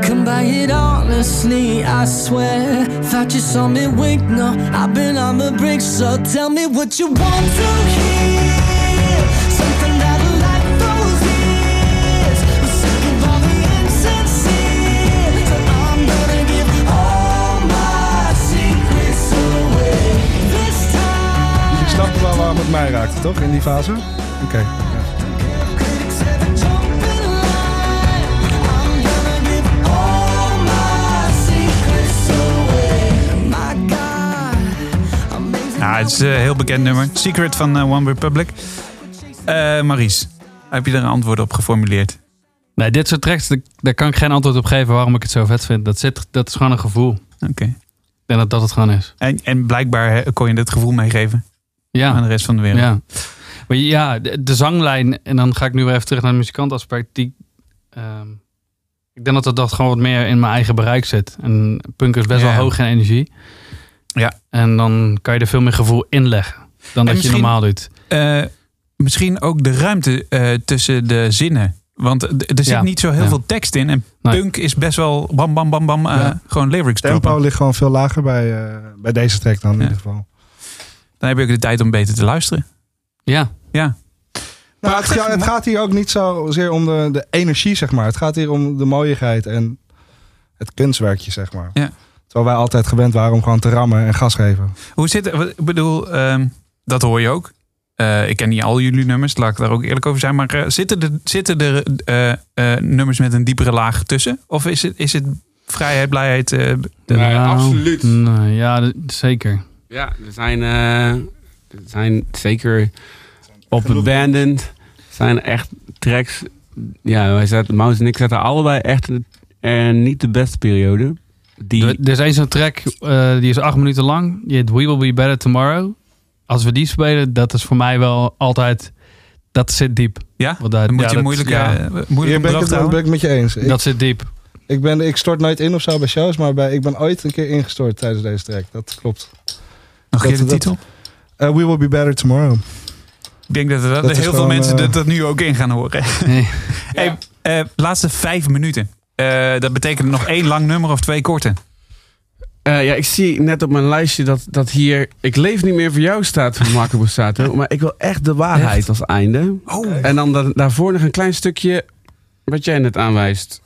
H: Come by it honestly, I swear. Thought you saw me wink, no, I've been on the brink. So tell me what you want to hear. Something that'll light those ears. I'm sick of all the insincere. So I'm gonna give all my secrets away. This time.
D: Je snapt wel waarom het mij raakt, toch? In die fase? Oké. ja.
H: Critics have a jump in line. I'm gonna give all my secrets away. My God, amazing.
B: Nou, het is een heel bekend nummer. Secret van eh, One Republic. Eh Maries, heb je daar een antwoord op geformuleerd?
F: Nee, dit soort tracks, daar- daar kan ik geen antwoord op geven waarom ik het zo vet vind. Dat, zit, dat is gewoon een gevoel. Ik
B: Oké.
F: denk dat dat het gewoon is.
B: En, en blijkbaar hè, kon je dat gevoel meegeven aan
F: Ja,
B: de rest van de wereld.
F: ja. Maar ja, de, de zanglijn, en dan ga ik nu weer even terug naar het muzikantaspect. Die, ehm, ik denk dat dat, dat gewoon wat meer in mijn eigen bereik zit. En punk is best
B: Ja.
F: wel hoog in energie.
B: Ja.
F: En dan kan je er veel meer gevoel in leggen dan dat je
B: misschien-
F: normaal doet.
B: Eh, misschien ook de ruimte eh, tussen de zinnen. Want d- er zit
F: Ja.
B: niet zo heel
F: Ja.
B: veel tekst in. En
F: Nee.
B: punk is best wel bam, bam, bam, bam. eh,
F: Ja.
B: Gewoon lyrics
D: Tempo
B: droppen.
D: ligt gewoon veel lager bij, eh, bij deze track dan in
B: Ja.
D: ieder geval. Nou,
B: Dan heb je ook de tijd om beter te luisteren.
F: Ja,
D: Nou, het, ja, het gaat hier ook niet zozeer om de, de energie, zeg maar. Het gaat hier om de mooiigheid en het kunstwerkje, zeg maar.
B: Ja.
D: Terwijl wij altijd gewend waren om gewoon te rammen en gas geven.
B: Hoe zit het? Ik bedoel, ehm, dat hoor je ook. Eh, ik ken niet al jullie nummers, laat ik daar ook eerlijk over zijn. Maar eh, zitten er, zitten er eh, eh, nummers met een diepere laag tussen? Of is het, is het vrijheid, blijheid? eh, de-
E: Nee, absoluut.
F: Nou, nee, ja, d- zeker.
E: Ja, er zijn, eh, er zijn zeker op Abandoned. zijn echt tracks. Ja, wij zaten, Mouse en ik zaten allebei echt in de- eh, niet de beste periode. Die,
F: Er, er is één zo'n track, eh, die is acht minuten lang. Die heet We Will Be Better Tomorrow. Als we die spelen, dat is voor mij wel altijd... Dat zit diep.
B: ja?
F: Wat daar,
B: Dan moet
F: ja,
B: je
F: dat-
B: moeilijk,
F: ja,
B: eh, moeilijk
D: Hier
B: om
D: ben ik,
B: droog
D: het,
B: te
D: ben
B: houden.
D: ik met je eens. Ik,
F: dat zit diep.
D: ik, ben, ik stort nooit in of zo bij shows, maar bij, ik ben ooit een keer ingestort tijdens deze track. Dat klopt.
B: Nog een keer de
D: dat-
B: titel?
D: Eh, we will be better tomorrow.
B: Ik denk dat, er- dat
D: Dat
B: er
D: is
B: heel veel
D: gewoon,
B: mensen
D: eh,
B: dat, dat nu ook in gaan horen.
F: Nee.
B: Hey, eh, laatste vijf minuten. Eh, dat betekent nog één lang nummer of twee korte.
E: Eh, ja, ik zie net op mijn lijstje dat, dat hier... Ik leef niet meer voor jou staat van Marco Borsato. maar ik wil echt Oh. de waarheid als einde. En dan da- daarvoor nog een klein stukje wat jij net aanwijst.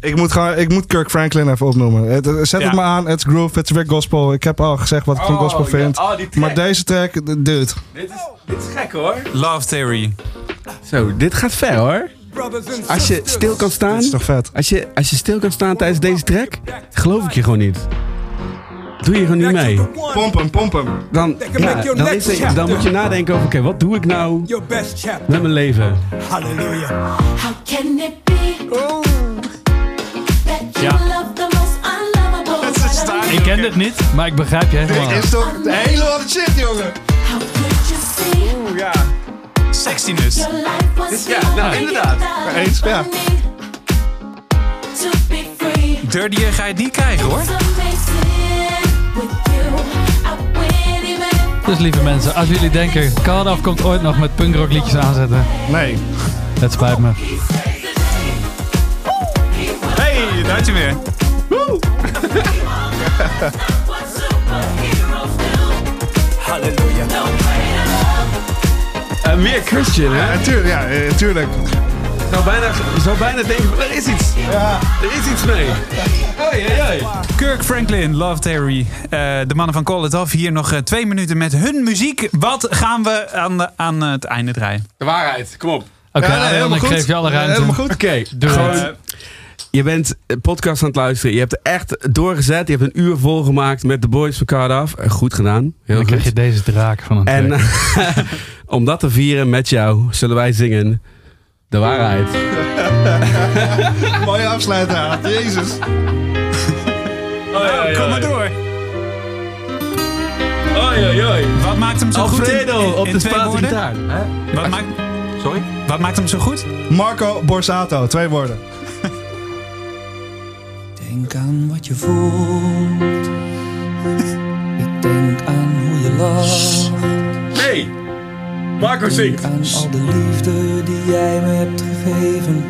D: Ik moet, gewoon, ik moet Kirk Franklin even opnoemen. Het- het- Zet
B: Ja. Oh,
D: het maar aan. Het is groove. Het is weer gospel. Ik heb al gezegd wat ik van gospel vind. maar deze track, d- dude.
E: dit, is, dit is gek hoor.
B: Love Theory.
E: Zo, dit gaat ver hoor. Als je stil kan
D: Dit
E: staan...
D: is toch vet.
E: Als je, als je stil kan staan tijdens deze track, geloof ik je gewoon niet. Doe je gewoon niet mee.
D: Pompen, pompen.
E: Dan, ja, dan, is het- dan moet je nadenken over, oké, wat doe ik nou met mijn leven?
I: How can it be that you love the most unlovable?
D: Het is staart.
F: Ik ken dit niet, maar ik begrijp je helemaal.
D: Dit is toch een hele andere shit, jongen.
I: How could you see
D: Ja.
B: Sexiness.
I: your life was
D: Ja,
I: the
D: nou,
I: only
D: inderdaad.
I: thing that
D: Eens, ja.
I: I need To be free.
B: Dirtier ga je het niet krijgen hoor.
I: It's amazing with you. I win even if
F: Dus lieve mensen, als jullie denken... Call It Off komt ooit nog met punkrock liedjes aanzetten.
D: Nee.
F: Het spijt me.
B: Hey, daar is hij weer. Woe!
E: Eh, meer Christian, hè?
D: Ja, tuurlijk. Ja, eh, tuurlijk.
E: Ik zou bijna, ik zou bijna denken, er is iets. Er is iets mee. Hoi, hoi, hoi.
B: Kirk Franklin, Love Theory. Eh, de mannen van Call It Off hier nog eh, twee minuten met hun muziek. Wat gaan we aan, de, aan het einde draaien?
E: De waarheid, kom op.
F: Oké,
D: Ja, nee,
F: Adrian,
D: helemaal
F: ik
D: goed.
F: geef je alle
D: Ja,
F: ruimte.
D: helemaal goed.
E: Oké,
F: Doe
E: gewoon-
F: het.
E: Je bent een podcast aan het luisteren. Je hebt er echt doorgezet. Je hebt een uur volgemaakt met de boys van Cardiff. Eh, Goed gedaan. Heel
F: Dan
E: goed.
F: krijg je deze draak van een
E: En eh,
F: track.
E: om dat te vieren met jou, zullen wij zingen de waarheid.
D: Mooie afsluiter. Aad. Jezus.
B: Kom maar door.
E: Oei, oei, oei.
B: Wat maakt hem zo goed? in- in-
E: Alfredo
B: in
E: op de
B: twee
E: Spaanse
B: woorden?
E: gitaar. Hè?
B: Wat maakt,
E: Sorry?
B: wat maakt hem zo goed?
D: Marco Borsato. Twee woorden.
J: Denk aan wat je voelt. Ik denk aan hoe je lacht.
E: Nee! Marco zingt.
J: Aan al de liefde die jij me hebt gegeven.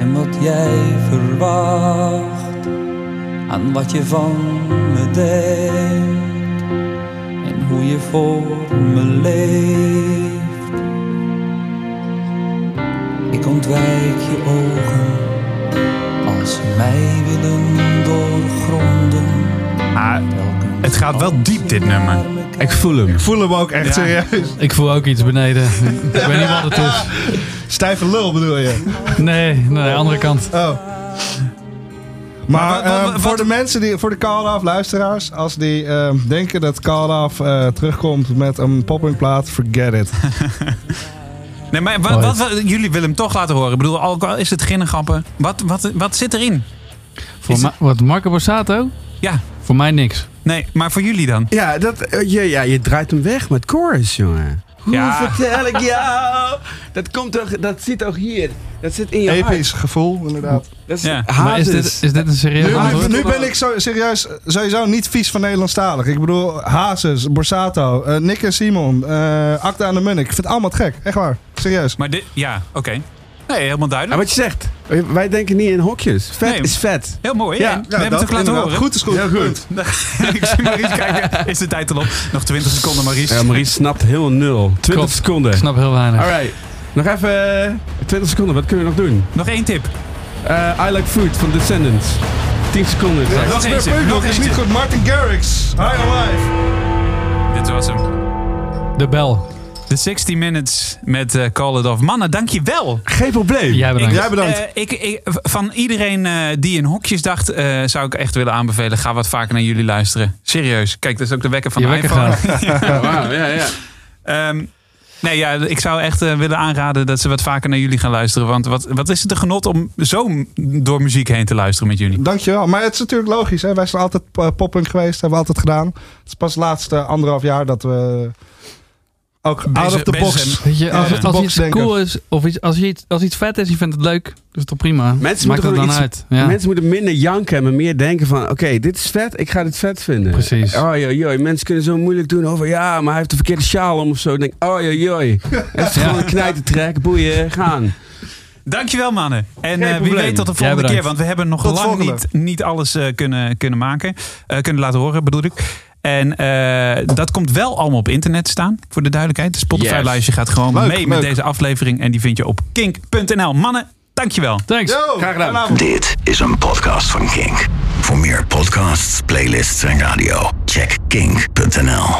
J: En wat jij verwacht. Aan wat je van me denkt. En hoe je voor me leeft. Ik ontwijk je ogen. Als ze mij willen doorgronden.
B: Ah, Het gaat wel diep, dit nummer.
E: Ik voel hem.
D: Voel hem ook echt serieus.
F: Ik voel ook iets beneden. ik weet niet wat het is.
D: Stijve lul bedoel je.
F: Nee, nee, andere kant.
D: Oh. Maar
B: wa- wa-
D: ehm,
B: wat-
D: voor de mensen, die, voor de Call Off luisteraars, als die ehm, denken dat Call Off eh, terugkomt met een pop-up plaat, forget it.
B: Nee, maar wat, wat, wat- jullie willen hem toch laten horen. Ik bedoel, alcohol, is het ginnengrappen? Wat, wat, wat zit erin?
F: Voor
B: Is-
F: ma- wat, Marco Borsato?
B: Ja.
F: Voor mij niks.
B: Nee, maar voor jullie dan?
E: Ja, dat, eh, je, ja, je draait hem weg met chorus, jongen. Hoe
B: Ja.
E: vertel ik jou? Dat komt toch, dat zit toch hier. Dat zit in je hart.
D: Episch gevoel, inderdaad.
E: Dat is
B: Ja, maar
F: Maar is
E: Hazes.
F: dit, is dit een serieus
D: Nu,
F: antwoord?
D: nu ben ik zo, serieus sowieso niet vies van Nederlandstalig. Ik bedoel, Hazes, Borsato, eh, Nick en Simon, eh Acta aan de Munnik. Ik vind het allemaal te gek, echt waar. Serieus.
B: Maar dit, ja, oké. Nee, helemaal
E: Ja,
B: duidelijk.
E: wat je zegt, wij denken niet in hokjes. Vet
B: Nee.
E: is vet.
B: Heel mooi.
E: Ja,
B: hè? we hebben
D: dat
B: het ook laten
D: inderdaad.
B: horen.
D: Goed is goed. Heel goed.
B: Ik zie Maries kijken. Is de tijd al op? Nog 20 seconden, Maries.
E: Ja, Maurice snapt heel nul. 20
F: Klopt. Ik
E: seconden.
F: snap heel weinig.
E: Alright. Nog even eh, 20 seconden, wat kunnen we nog doen?
B: Nog één tip.
E: Eh, I Like Food van Descendants. 10 seconden.
B: nog
D: Smeer
B: eentje,
D: Peukdok
B: nog
D: is niet
B: eentje.
D: goed. Martin Garrix, High Alive.
B: Dit was hem.
F: De bel.
B: De 60 Minutes met eh, Call It Off. Mannen, dankjewel.
E: Geen probleem.
F: Jij bedankt.
D: Jij bedankt.
B: Eh, ik, ik, van iedereen eh, die in hokjes dacht, eh, zou ik echt willen aanbevelen. Ga wat vaker naar jullie luisteren. Serieus. Kijk, dat is ook de wekker van
F: Je
B: de
F: wekker
B: iPhone.
F: gaat.
E: Wauw, ja, ja.
B: Ehm, nee, ja, ik zou echt eh, willen aanraden dat ze wat vaker naar jullie gaan luisteren. Want wat, wat is het een genot om zo m- door muziek heen te luisteren met jullie?
D: Dankjewel. Maar het is natuurlijk logisch. Hè? Wij zijn altijd eh, poppunk geweest. Hebben we altijd gedaan. Het is pas het laatste anderhalf jaar dat we ook out
B: Bezig-
D: of the
B: bezig
D: box.
B: zijn.
F: Weet je, als,
D: Ja.
F: als
D: Box
F: iets
D: denken.
F: cool is, of iets, als, iets, als iets vet is, je vindt het leuk, dat is toch prima.
E: Mensen
F: Maakt
E: moeten
F: het dan
E: gewoon iets-
F: uit. Ja.
E: Mensen moeten minder janken, maar meer denken van... Oké, dit is vet, ik ga dit vet vinden.
F: Precies.
E: Oh, joi, joi. Mensen kunnen zo moeilijk doen over... Ja, maar hij heeft de verkeerde sjaal om of zo. Dan denk ik, oh, joi, joi. Het is gewoon een knijtertrek, boeien, gaan.
B: Dankjewel mannen. En
E: Geen
B: eh, wie
E: probleem.
B: weet tot de
F: Jij
B: volgende
F: bedankt.
B: keer. Want we hebben nog
D: Tot
B: lang
D: volgende.
B: niet, niet alles eh, kunnen, kunnen maken. Eh, kunnen laten horen bedoel ik. En eh, dat komt wel allemaal op internet staan. Voor de duidelijkheid. Het Spotify lijstje gaat gewoon
D: Leuk,
B: mee met
D: leuk.
B: deze aflevering. En die vind je op kink.nl. Mannen, dankjewel.
F: Thanks.
D: Yo,
E: Graag gedaan.
D: vanavond.
A: Dit is een podcast van Kink. Voor meer podcasts, playlists en radio, check kink.nl.